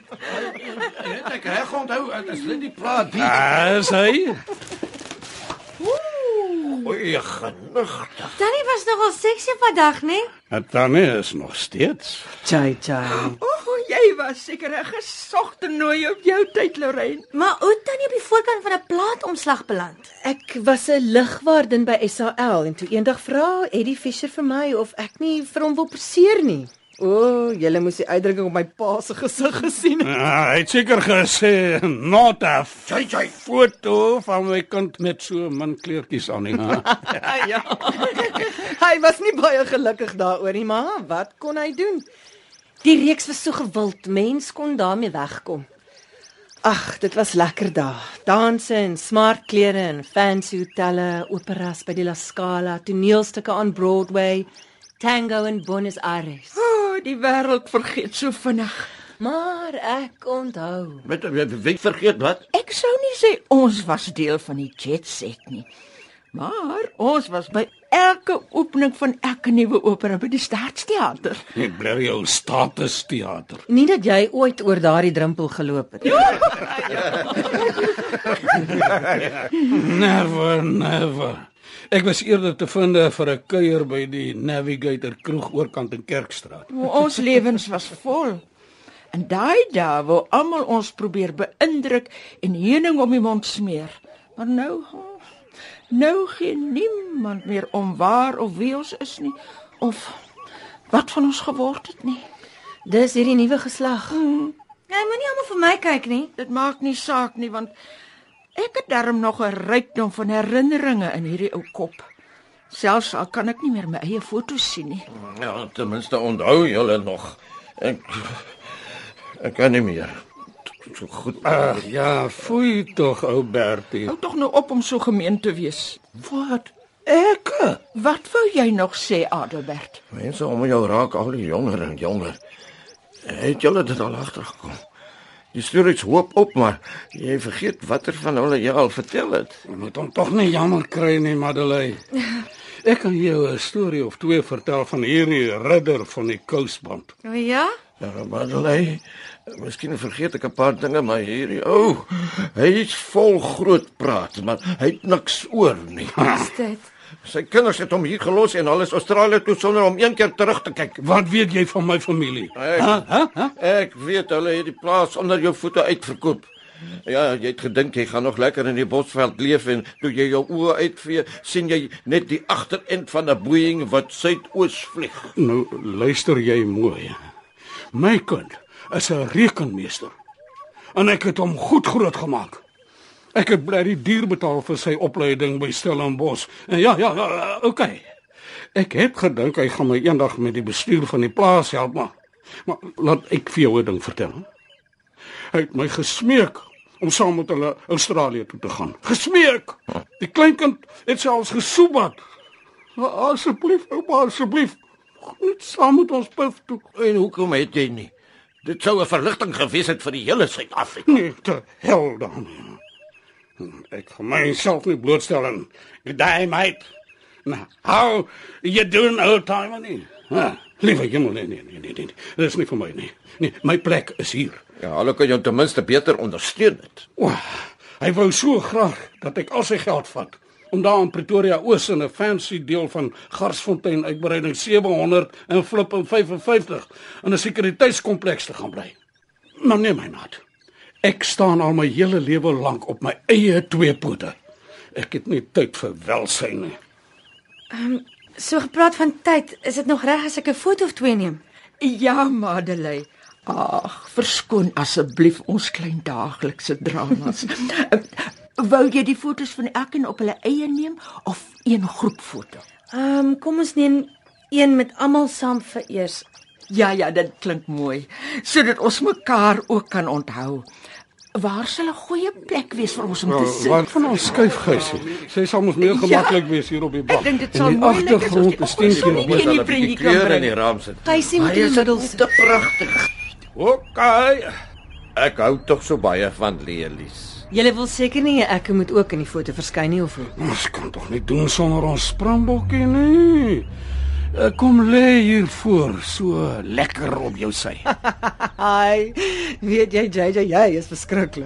Het ek reg onthou, dit is Lindy praat die.
Ah, sê.
Oei, genigte.
Tannie was nogal seksie vandag, né?
Dit dan is nog steeds.
Chai chai.
O, jy was seker 'n gesogte nooi op jou tyd, Lorraine.
Maar hoe het tannie op die voorkant van 'n plaatomslag beland?
Ek was 'n ligwaarden by SAL en toe eendag vra Eddie Fisher vir my of ek nie vir hom wil perseer nie. O, julle moes die uitdrukking op my pa se gesig gesien het.
Ah, hy het seker gesê not a
Jy jy.
foto van my kind met so min kleertjies aan nie. ha?"
ja. hy was nie baie gelukkig daaroor nie, maar wat kon hy doen? Die reeks was so gewild, mens kon daarmee wegkom. Ag, dit was lekker dae. Danse en smart klere en fancy hotelle, operas by die La Scala, toneelstukke aan Broadway, tango in Buenos Aires.
O, die wêreld vergeet so vinnig.
Maar ek onthou.
Met wie vergeet wat?
Ek sou nie sê ons was deel van die jet set nie. Maar ons was by elke opening van elke nuwe opera by die Staatsteater.
Ek bly jou status teater.
Nie dat jy ooit oor daardie drempel geloop het. Ja.
Never, never. Ek was eerder te vind vir 'n kuier by die Navigator kroeg oorkant in Kerkstraat.
Ons lewens was vol. En daai dae wou almal ons probeer beïndruk en heuning om die mond smeer. Maar nou oh, nou gee niemand meer om waar of wie ons is nie of wat van ons geword het nie.
Dis hierdie nuwe geslag.
Mm. Jy moenie almal vir my kyk nie.
Dit maak nie saak nie want ek het darm nog 'n rykdom van herinneringe in hierdie ou kop. Selfs al kan ek nie meer my eie foto's sien nie.
Ja, ten minste onthou julle nog. Ek ek kan nie meer. So goed.
Ag ja, foei tog ou Bertie.
Hou tog nou op om so gemeen te wees.
Wat?
Ek, wat wou jy nog sê, Adelbert?
Mense om jou raak al jonger en jonger. Het julle dit al agtergekom? Jy stuur iets hoop op, maar jy vergeet watter van hulle jy al vertel het.
Jy moet hom tog nie jammer kry nie, Madeleine. Ek kan jou 'n storie of twee vertel van hierdie ridder van die kousband.
O ja?
Ja, Madeleine, miskien vergeet ek 'n paar dinge, maar hierdie ou, oh, hy is vol groot praat, maar hy het niks oor nie.
Is dit?
Sy kinders het hom hier gelos en alles Australië toe sonder om een keer terug te kyk.
Wat weet jy van my familie?
Ek, ek weet hulle het die plaas onder jou voete uitverkoop. Ja, jy het gedink jy gaan nog lekker in die bosveld leef en toe jy jou oë uitvee, sien jy net die agterend van 'n boeing wat suidoos vlieg.
Nou luister jy mooi. My kind is 'n rekenmeester. En ek het hom goed groot gemaak. Ek het bly die duur betaal vir sy opleiding by Stellenbosch. En ja, ja, ja, okay. Ek het gedink hy gaan my eendag met die bestuur van die plaas help, maar maar laat ek vir jou 'n ding vertel. Hy het my gesmeek om saam met hulle Australië toe te gaan. Gesmeek. Die kleinkind het selfs gesoebat. Maar Asseblief, ouma, asseblief. kom Net saam met ons puf toe.
En hoekom het jy nie? Dit sou 'n verligting gewees het vir die hele Suid-Afrika.
Nee, te hel dan. Ek gaan myself nie blootstel aan daai meid. Nou, how you doing old timer nie? Ah, liewe jemmel, nee, nee, nee, nee, nee. Dit is nie vir my nie. Nee, my plek is hier.
Ja, hulle kan jou ten minste beter ondersteun het.
O, hy wou so graag dat ek al sy geld vat om daar in Pretoria Oos in 'n fancy deel van Garsfontein uitbreiding 700 en Flip en 55 in 'n sekuriteitskompleks te gaan bly. Maar nee my maat. Ek staan al my hele lewe lank op my eie twee pote. Ek het nie tyd vir welsyn nie.
So gepraat van tyd, is dit nog reg as ek 'n foto of twee neem?
Ja, Madeleine. Ag, verskoon asseblief ons klein daaglikse dramas. Wou jy die fotos van elkeen op hulle eie neem of een groepfoto?
Ehm um, kom ons neem een met almal saam vir eers.
Ja ja, dit klink mooi, sodat ons mekaar ook kan onthou. Waar sal 'n goeie plek wees vir ons om te sit?
Wat van ons skuifgeusie? Sy sal ons meer gemaklik ja, wees hier op die bank.
ek dink dit sal moeilik
is.
is
Die
as die
agtergrond is
oggend
steeds hier
nie
bo.
ken die
Hulle bietjie
prentjie kan
kleure in
bring.
die raam sit.
Kysie moet
Hy
in die
is
middel
te pragtig.
Okay.
Ek hou tog so baie van Lelies.
Julle wil seker nie ek moet ook in die foto verskyn nie of hoe?
Ons kan tog nie doen sonder ons springbokkie nie. Eh, Kom lê hier voor, so lekker op jou sy.
Ai, weet jy JJ, jy is verskriklik.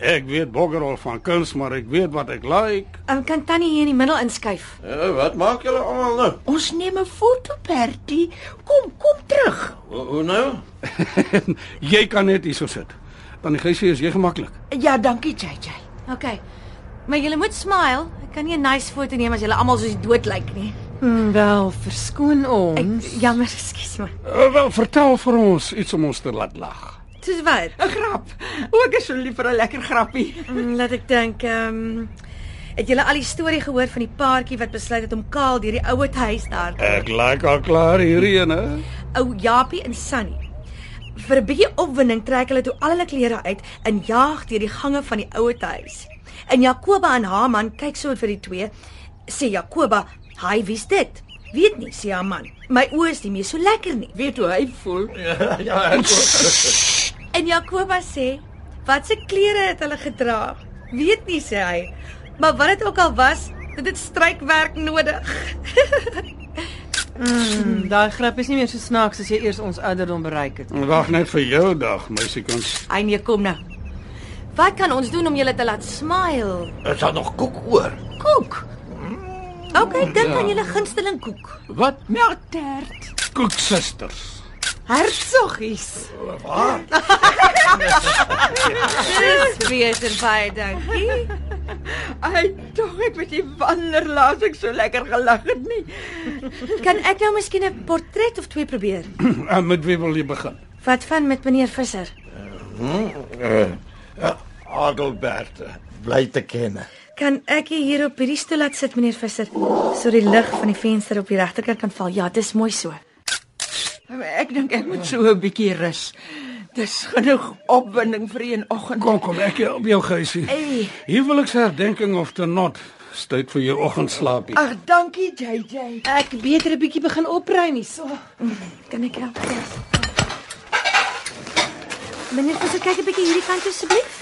Ek weet boggerol van kuns, maar ek weet wat ek like.
Um, kan tannie hier in die middel inskuif?
Eh, wat maak julle almal nou?
Ons neem 'n foto, Bertie. Kom, kom terug.
Hoe, hoe nou?
jy kan net hierso sit. Dan die geisie is jy gemaklik.
Ja, dankie, JJ.
OK. Maar julle moet smile. Ek kan nie 'n nice foto neem as julle almal soos die dood lyk nie.
Hmm, wel, verskoon ons.
Ek, jammer, ekskuus my.
Uh, wel, vertel vir ons iets om ons te laat lag.
Soos wat?
'n Grap. O, ek is so lief vir 'n lekker grappie.
Mm, Laat ek dink, ehm um, het julle al die storie gehoor van die paartjie wat besluit het om kaal deur die ouer huis daar.
Ek like al klaar hierdie een, hè?
Ou Japie en Sunny. Vir 'n bietjie opwinding trek hulle toe al hulle klere uit en jaag deur die gange van die ouer huis. En Jakoba en haar man kyk so vir die twee. Sê Jakoba, "Hi, wie's dit?" Weet nie, sê haar man. My oë is nie meer so lekker nie.
Weet hoe hy voel?
Ja, ek
En Jakoba sê, "Wat se klere het hulle gedra?" Weet nie sê hy. Maar wat dit ook al was, dit het strykwerk nodig.
Mm, Daai grap is nie meer so snaaks as jy eers ons ouderdom bereik het.
Wag net vir jou dag, meisiekind.
Ai nee, kom nou. Wat kan ons doen om julle te laat smile?
Is daar nog koek oor? Mm.
Koek. OK, dink aan julle gunsteling koek.
Wat?
Melktert.
Koeksusters.
Hertsoggies.
Dis beter baie dankie.
Ai, tog ek weet nie wanneer laas ek so lekker gelag het nie.
Kan ek nou miskien 'n portret of twee probeer?
en Eh, met wie wil jy begin?
Wat van met meneer Visser?
Eh,
Adelbert, bly te ken.
Kan ek u hier op hierdie stoel laat sit meneer Visser? So die lig van die venster op die regterkant kan val. Ja, dis mooi so.
Ek dink ek moet so 'n bietjie rus. Dis genoeg opwinding vir een oggend.
Kom, kom, ek help jou, geisie.
Hey.
Huweliksherdenking of te not, stuit vir jou oggendslaapie.
Ag, dankie JJ.
Ek beter 'n bietjie begin opruim hierso.
Kan ek help? Meneer Visser, kyk 'n bietjie hierdie kant asseblief.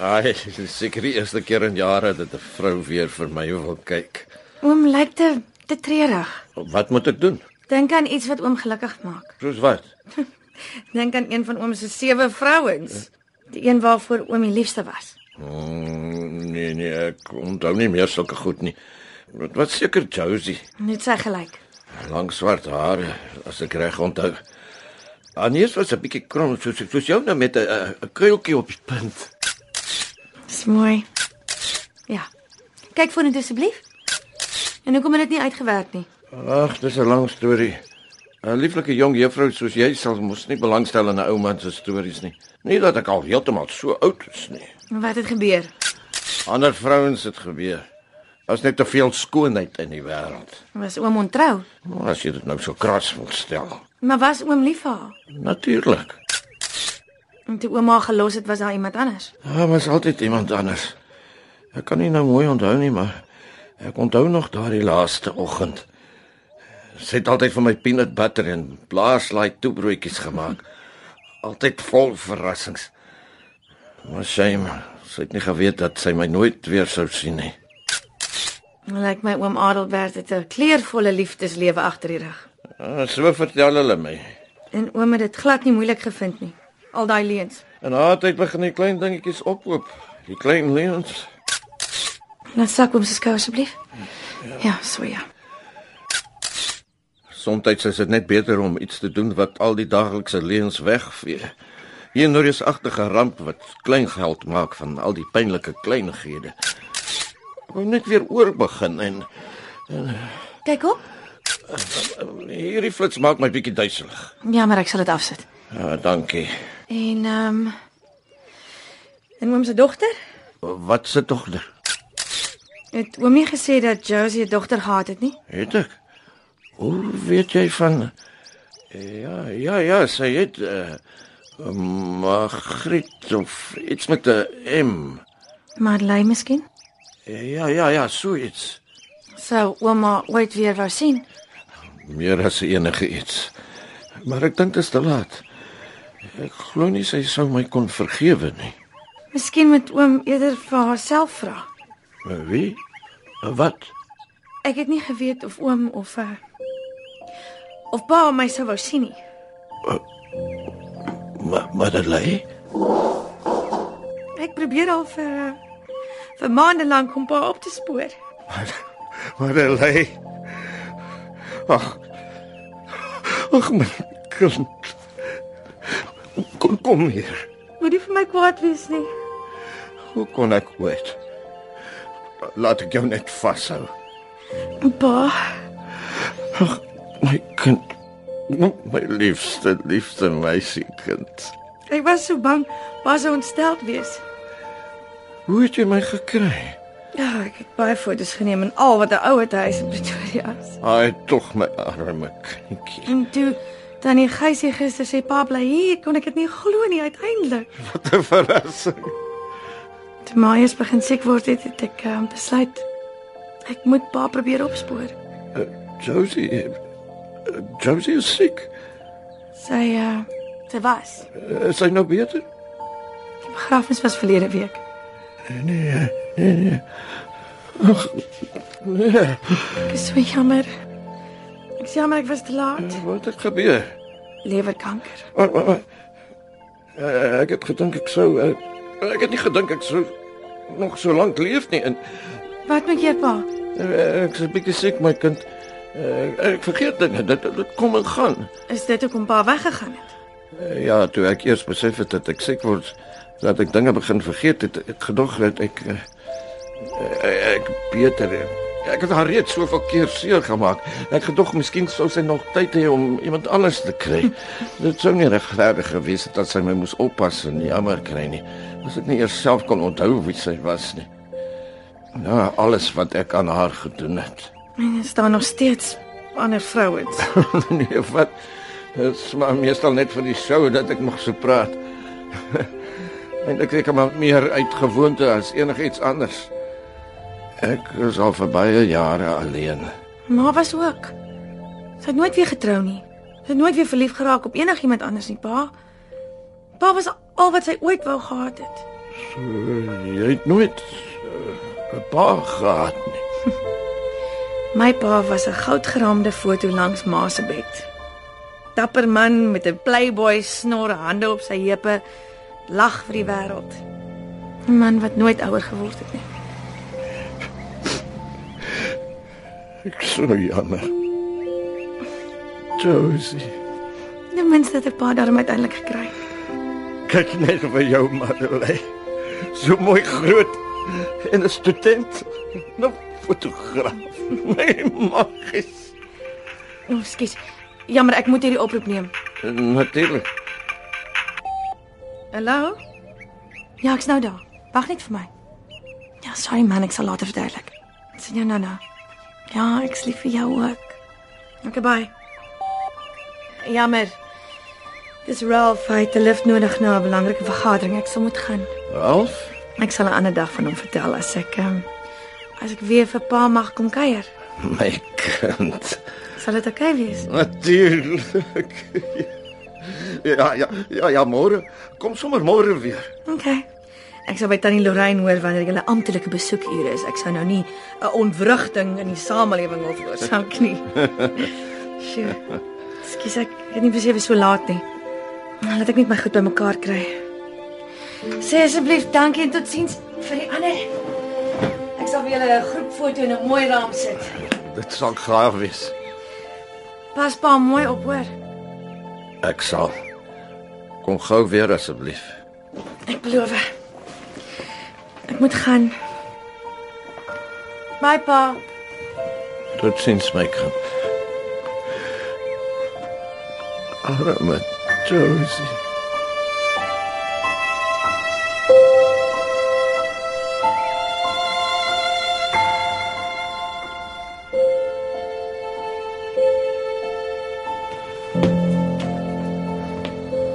Ai, dis seker die eerste keer in jare dat 'n vrou weer vir my wil kyk.
Oom lyk te te treurig.
Wat moet ek doen?
Dink aan iets wat oom gelukkig maak.
Soos wat?
Dink aan een van oom se sewe vrouens, die een waarvoor oom die liefste was.
Mm, nee nee, ek onthou nie meer sulke goed nie. Wat, wat seker Josie,
Net sy gelyk.
lang swart hare, as ek reg onthou. Anies was 'n bietjie krom soos soos jou nou met 'n- 'n 'n kuiltjie op die punt.
Dis mooi. Ja. Kyk vorentoe asseblief. En hoekom het dit nie uitgewerk nie?
Ag, dis 'n lang storie. 'n Lieflike jong juffrou soos jy sal mos nie belangstel aan 'n ou man se stories nie. Nie dat ek al heeltemal so oud is nie.
Wat het gebeur?
Ander vrouens het gebeur. Daar's net te veel skoonheid in die wêreld.
Was oom ontrou?
Nou, as jy dit nou so kras wil stel.
Maar was oom lief vir haar?
Natuurlik.
En toe ouma gelos het, was daar iemand anders.
Daar was altyd iemand anders. Ek kan nie nou mooi onthou nie, maar ek onthou nog daardie laaste oggend. Sy het altyd vir my peanut butter en blaaslaai toebroodjies gemaak. Altyd vol verrassings. Maar shame, sy het nie geweet dat sy my nooit weer sou sien nie.
Lyk my oom Adelbert het 'n kleurvolle liefdeslewe agter die rug.
Ah, So vertel hulle my.
En oom het dit glad nie moeilik gevind nie. Al daai leuns.
En haar tyd begin die klein dingetjies ophoop. Die klein leuns.
Laat sak oom se skouer asseblief. Ja, so ja.
Soms is dit net beter om iets te doen wat al die daaglikse leuns wegvee. Hier nou is agtige ramp wat klein geld maak van al die pynlike kleinighede. Ek wou net weer oor begin en eh,
Kyk op.
hierdie flits maak my bietjie duiselig.
Ja, maar ek sal dit afsit.
Ja, dankie.
En ehm um, en oom se dogter?
Wat se dogter?
Het oom nie gesê dat Josie 'n dogter gehad het nie?
Het ek? Hoe weet jy van Ja, ja, ja, sy het eh uh, Margriet of iets met 'n M.
Madeleine miskien?
Ja, ja, ja, so iets.
Sou ouma ooit weer wou sien?
Meer as enige iets. Maar ek dink dit is te laat. Ek glo nie sy sou my kon vergewe nie.
Miskien moet oom eerder vir haarself vra.
Maar wie? Wat?
Ek het nie geweet of oom of uh, of pa my sou wou sien nie.
Ma- Madeleine?
Ek probeer al vir uh, vir maande lank om pa op te spoor.
Madeleine. Ag. Ag my kind. Kom kom hier.
Moenie vir my kwaad wees nie.
Hoe kon ek weet? Laat ek jou net vashou.
Pa,
My kind. Nou, My liefste, liefste meisiekind.
ek was so bang pa sou ontsteld wees.
Hoe het jy my gekry?
Ja, ek het baie foto's geneem en al wat 'n ou het huis in Pretoria is.
Ai, tog my arme kindjie.
En toe tannie Gysie gister sê pa bly hier, kon ek dit nie glo nie uiteindelik.
Wat 'n verrassing.
Toe Marius begin siek word het, het ek um, besluit ek moet pa probeer opspoor.
Josie. eh, Josie is siek.
Sy uh, sy was.
Is sy nou beter?
Die begrafnis was verlede week.
Nee.
Ek is so jammer. Ek is jammer ek was te laat.
Wat het gebeur?
Lewerkanker.
Maar, maar, maar. Eh, ek het gedink ek sou eh, ek het nie gedink ek sou nog so lank leef nie en
Wat maak jy pa?
eh, ek's 'n bietjie siek my kind. Eh, ek vergeet dinge, dit dit kom en gaan.
Is dit hoekom pa weggegaan het?
Eh, ja, toe ek eers besef het dat ek siek word, dat ek dinge begin vergeet het, ek gedog dat ek eh, eh, ek beter eh, Ek het haar reeds soveel keer seer gemaak. Ek gedog miskien sou sy nog tyd hê om iemand anders te kry. Dit sou nie regverdig gewees het dat sy my moes oppas en jammer kry nie. As ek nie eers self kon onthou wie sy was nie. Nou alles wat ek aan haar gedoen het.
En is daar nog steeds ander vrouens?
nee, wat? Dit is maar meestal net vir die show dat ek nog so praat. en ek kyk maar meer uit gewoonte as enigiets anders. Ek is al vir baie jare alleen.
Ma was ook. Sy het nooit weer getrou nie. Sy het nooit weer verlief geraak op enigiemand anders nie, pa. Pa was al wat sy ooit wou gehad het.
Jy het nooit eh, 'n pa gehad nie.
My pa was 'n goudgeraamde foto langs ma se bed. Dapper man met 'n playboy snor, hande op sy heupe, lag vir die wêreld. 'n Man wat nooit ouer geword het nie.
Ek is so jammer. Josie,
Ten minste het ek pa daarom uiteindelik gekry.
kyk net vir jou Madeleine. So mooi groot en 'n student, 'n fotograaf. My maggies.
O, oh, skus. Jammer, ek moet hierdie oproep neem.
Natuurlik.
Hallo? Ja, ek's nou daar. Wag net vir my. Ja, sorry man, ek sal later verduidelik. Sien jou nou nou. Ja, ek's lief vir jou ook. Okay, bye. Jammer. Dis Ralph, hy het 'n lift nodig na 'n belangrike vergadering. Ek sal moet gaan.
Ralf?
Ek sal 'n ander dag van hom vertel as ek um, as ek weer vir pa mag kom kuier.
My kind.
Sal dit oukei okay wees?
Natuurlik. Ja, ja, ja, ja, môre. Kom sommer môre weer.
Okay. Ek sal by tannie Lorraine hoor wanneer julle amptelike besoekure is. Ek sou nou nie 'n ontwrigting in die samelewing wil veroorsaak nie. Sjoe. Skus ek het nie besef dit is so laat nie. Nou, Laat ek net my goed bymekaar kry. Sê asseblief dankie en totsiens vir die ander. Ek sal vir julle 'n groepfoto in 'n mooi raam sit.
Dit sal gaaf wees.
Pas pa mooi op hoor.
Ek sal. Kom gou weer asseblief.
Ek beloof. Ek moet gaan. Bye pa.
Totsiens my kind. Arme Josie.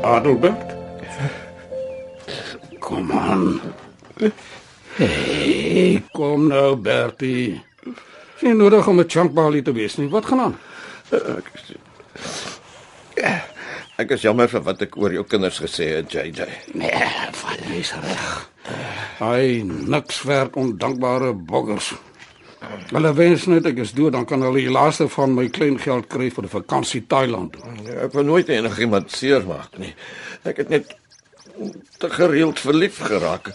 Adelbert?
Kom aan. Hey, kom nou Bertie. Sien nodig om 'n chunkbalie te wees nie. Wat gaan aan?
Ek is jammer vir wat ek oor jou kinders gesê het, JJ.
Nee, van is reg. Hy niks werd ondankbare boggers. Hulle wens net ek is dood, dan kan hulle die laaste van my kleingeld kry vir 'n vakansie Thailand.
Nee, Ek wil nooit enigiemand seermaak nie. Ek het net te gereeld verlief geraak.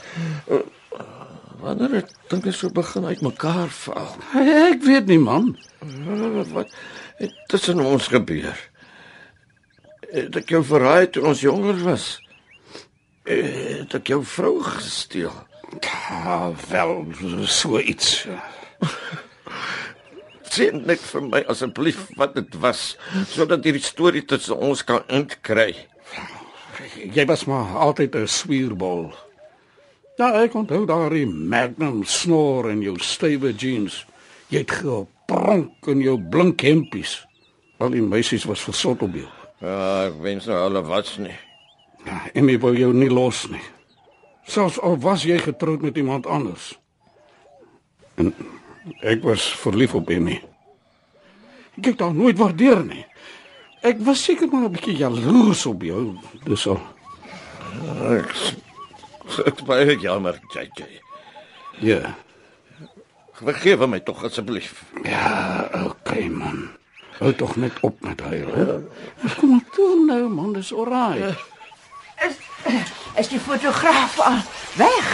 Wanneer het dinge so begin uitmekaar val?
Ek weet nie, man.
Wat het tussen ons gebeur? Het ek jou verraai toe ons jonger was? Het ek jou vrou gesteel?
Ah, wel so iets.
Sê net vir my asseblief wat dit was sodat hierdie storie tussen ons kan inkry.
Jy was maar altyd 'n swierbol. Ja, ek onthou daardie Magnum snor en jou stywe jeans. Jy het gepronk in jou blink hempies. Al die meisies was versot op jou.
Ja, ek wens nou hulle was nie.
Ja, en jy wou jou nie los nie. Selfs al was jy getroud met iemand anders. En ek was verlief op Emmy. Ek het haar nooit waardeer nie. Ek was seker maar 'n bietjie jaloers op jou, dis al.
Dit baie jammer, JJ.
Ja.
Vergewe my tog asseblief.
Ja, okay man. Hou tog net op met huil, hè. Kom maar toe nou man, dis oral.
Is die fotograaf al weg?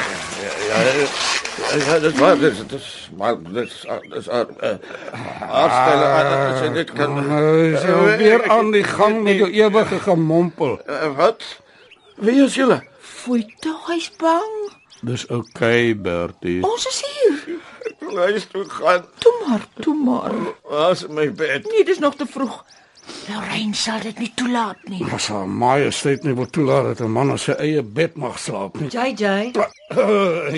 Ja, ja, ja dit was dit, dit is maar ah, dit is dit is afstel as jy dit kan
Nou, is jy weer aan die gang met jou ewige gemompel.
Eh, Wat? Wie is julle?
Foei tog, hy's bang.
Dis okay, Dus Bertie.
Ons is hier.
Luister toe gaan.
Toe maar, toe maar.
Was in my bed.
Nee, dis nog te vroeg. Lorraine sal dit nie toelaat nie.
As haar majesteit nie wil toelaat dat 'n man op sy eie bed mag slaap nie.
JJ,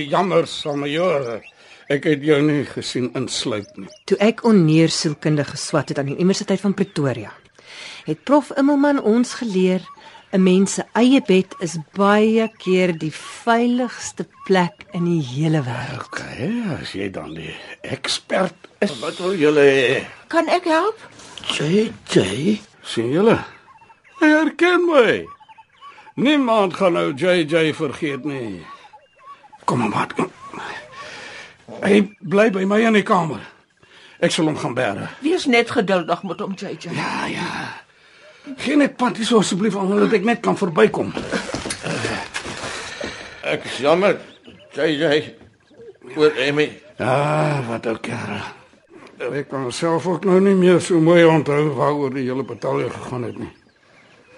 Jammer, Samajor. Ek het jou nie gesien insluip nie.
toe ek onneer sielkundige geswat het aan die Universiteit van Pretoria, het prof Immelman ons geleer 'n mens se eie bed is baie keer die veiligste plek in die hele wêreld.
Okay, as jy dan die ekspert is,
Wat wil julle hê?
Kan ek help?
JJ.
sien julle? Hy herken my. Niemand gaan nou JJ vergeet nie. Kom maar, maat. kom. Hy bly by my in die kamer. Ek sal hom gaan bære.
Wees net geduldig met hom, JJ.
Ja, ja. Geen net pad hier so asseblief omdat ek net kan verbykom.
Ek is jammer. JJ. Oor Emmy.
Ah, wat ook jare. Ek kan myself ook nou nie meer so mooi onthou waaroor die hele bataljon gegaan het nie.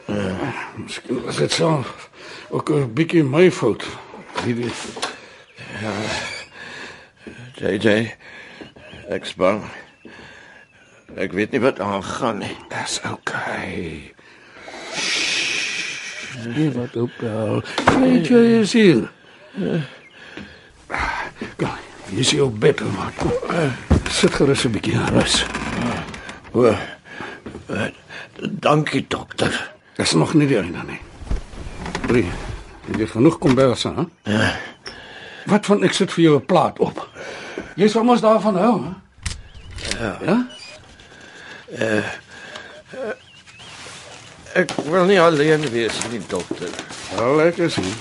Ja, miskien was dit self ook 'n bietjie my fout. Wie weet.
JJ. Ek's bang. Ek weet nie wat aangaan nie.
Dis okay. Nee, wat ook al. Net jy is hier. Ah, Kom, hier is jou bed, maar kom. eh, Sit gerus 'n bietjie aan rus.
O. eh, Dankie dokter.
Dis nog nie die einde nie. Brie, het jy genoeg komberse, hè? Ja. Wat van ek sit vir jou 'n plaat op. Jy sal mos daarvan hou, hè? Ja. Ja?
Ek wil nie alleen wees nie, dokter.
Wel lekker sien.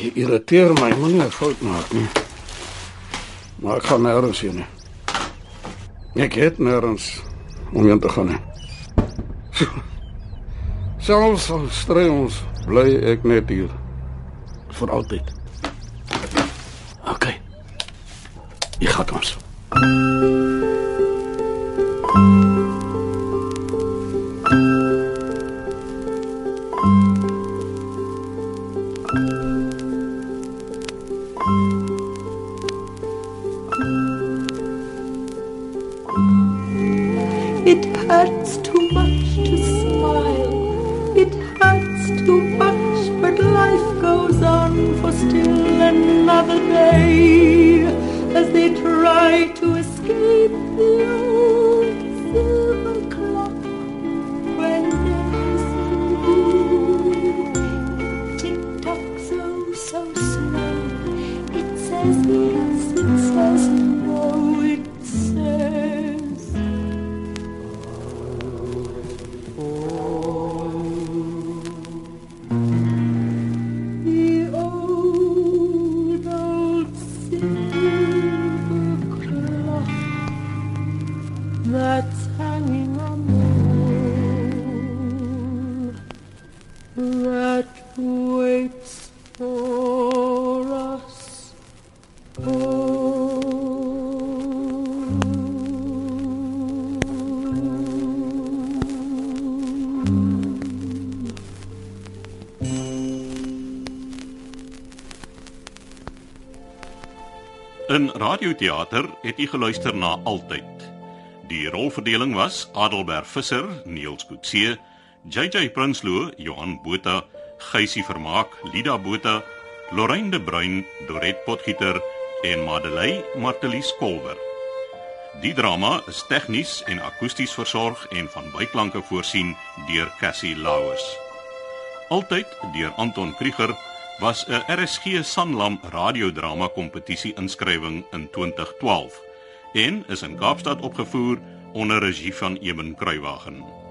Jy irriteer my, moenie 'n fout maak nie. Maar ek gaan nêrens heen nie. Ek het nêrens om heen te gaan nie. Selfs al strei ons, bly ek net hier vir altyd. OK. Jy gaan ons.
It hurts too much to smile. It hurts too much, but life goes on for still another day as they try to escape the old silver clock when days blue. Tick tock, so so slow. It says yes, it says no, it says.
Oh.
In radioteater het u geluister na altyd. Die rolverdeling was Adelbert Visser, Niels Kutse, JJ Prinsloo, Johan Botha, Geusie Vermaak, Lida Botha, Lorraine de Bruin, Dorette Potgieter en Madeleine Martelis Kolwer. Die drama is tegnies en akoesties versorg en van byklanke voorsien deur Cassie Lauers. Altyd deur Anton Krieger was 'n RSG Sanlam radiodrama kompetisie inskrywing in 2012 en is in Kaapstad opgevoer onder regie van Eben Kruiwagen.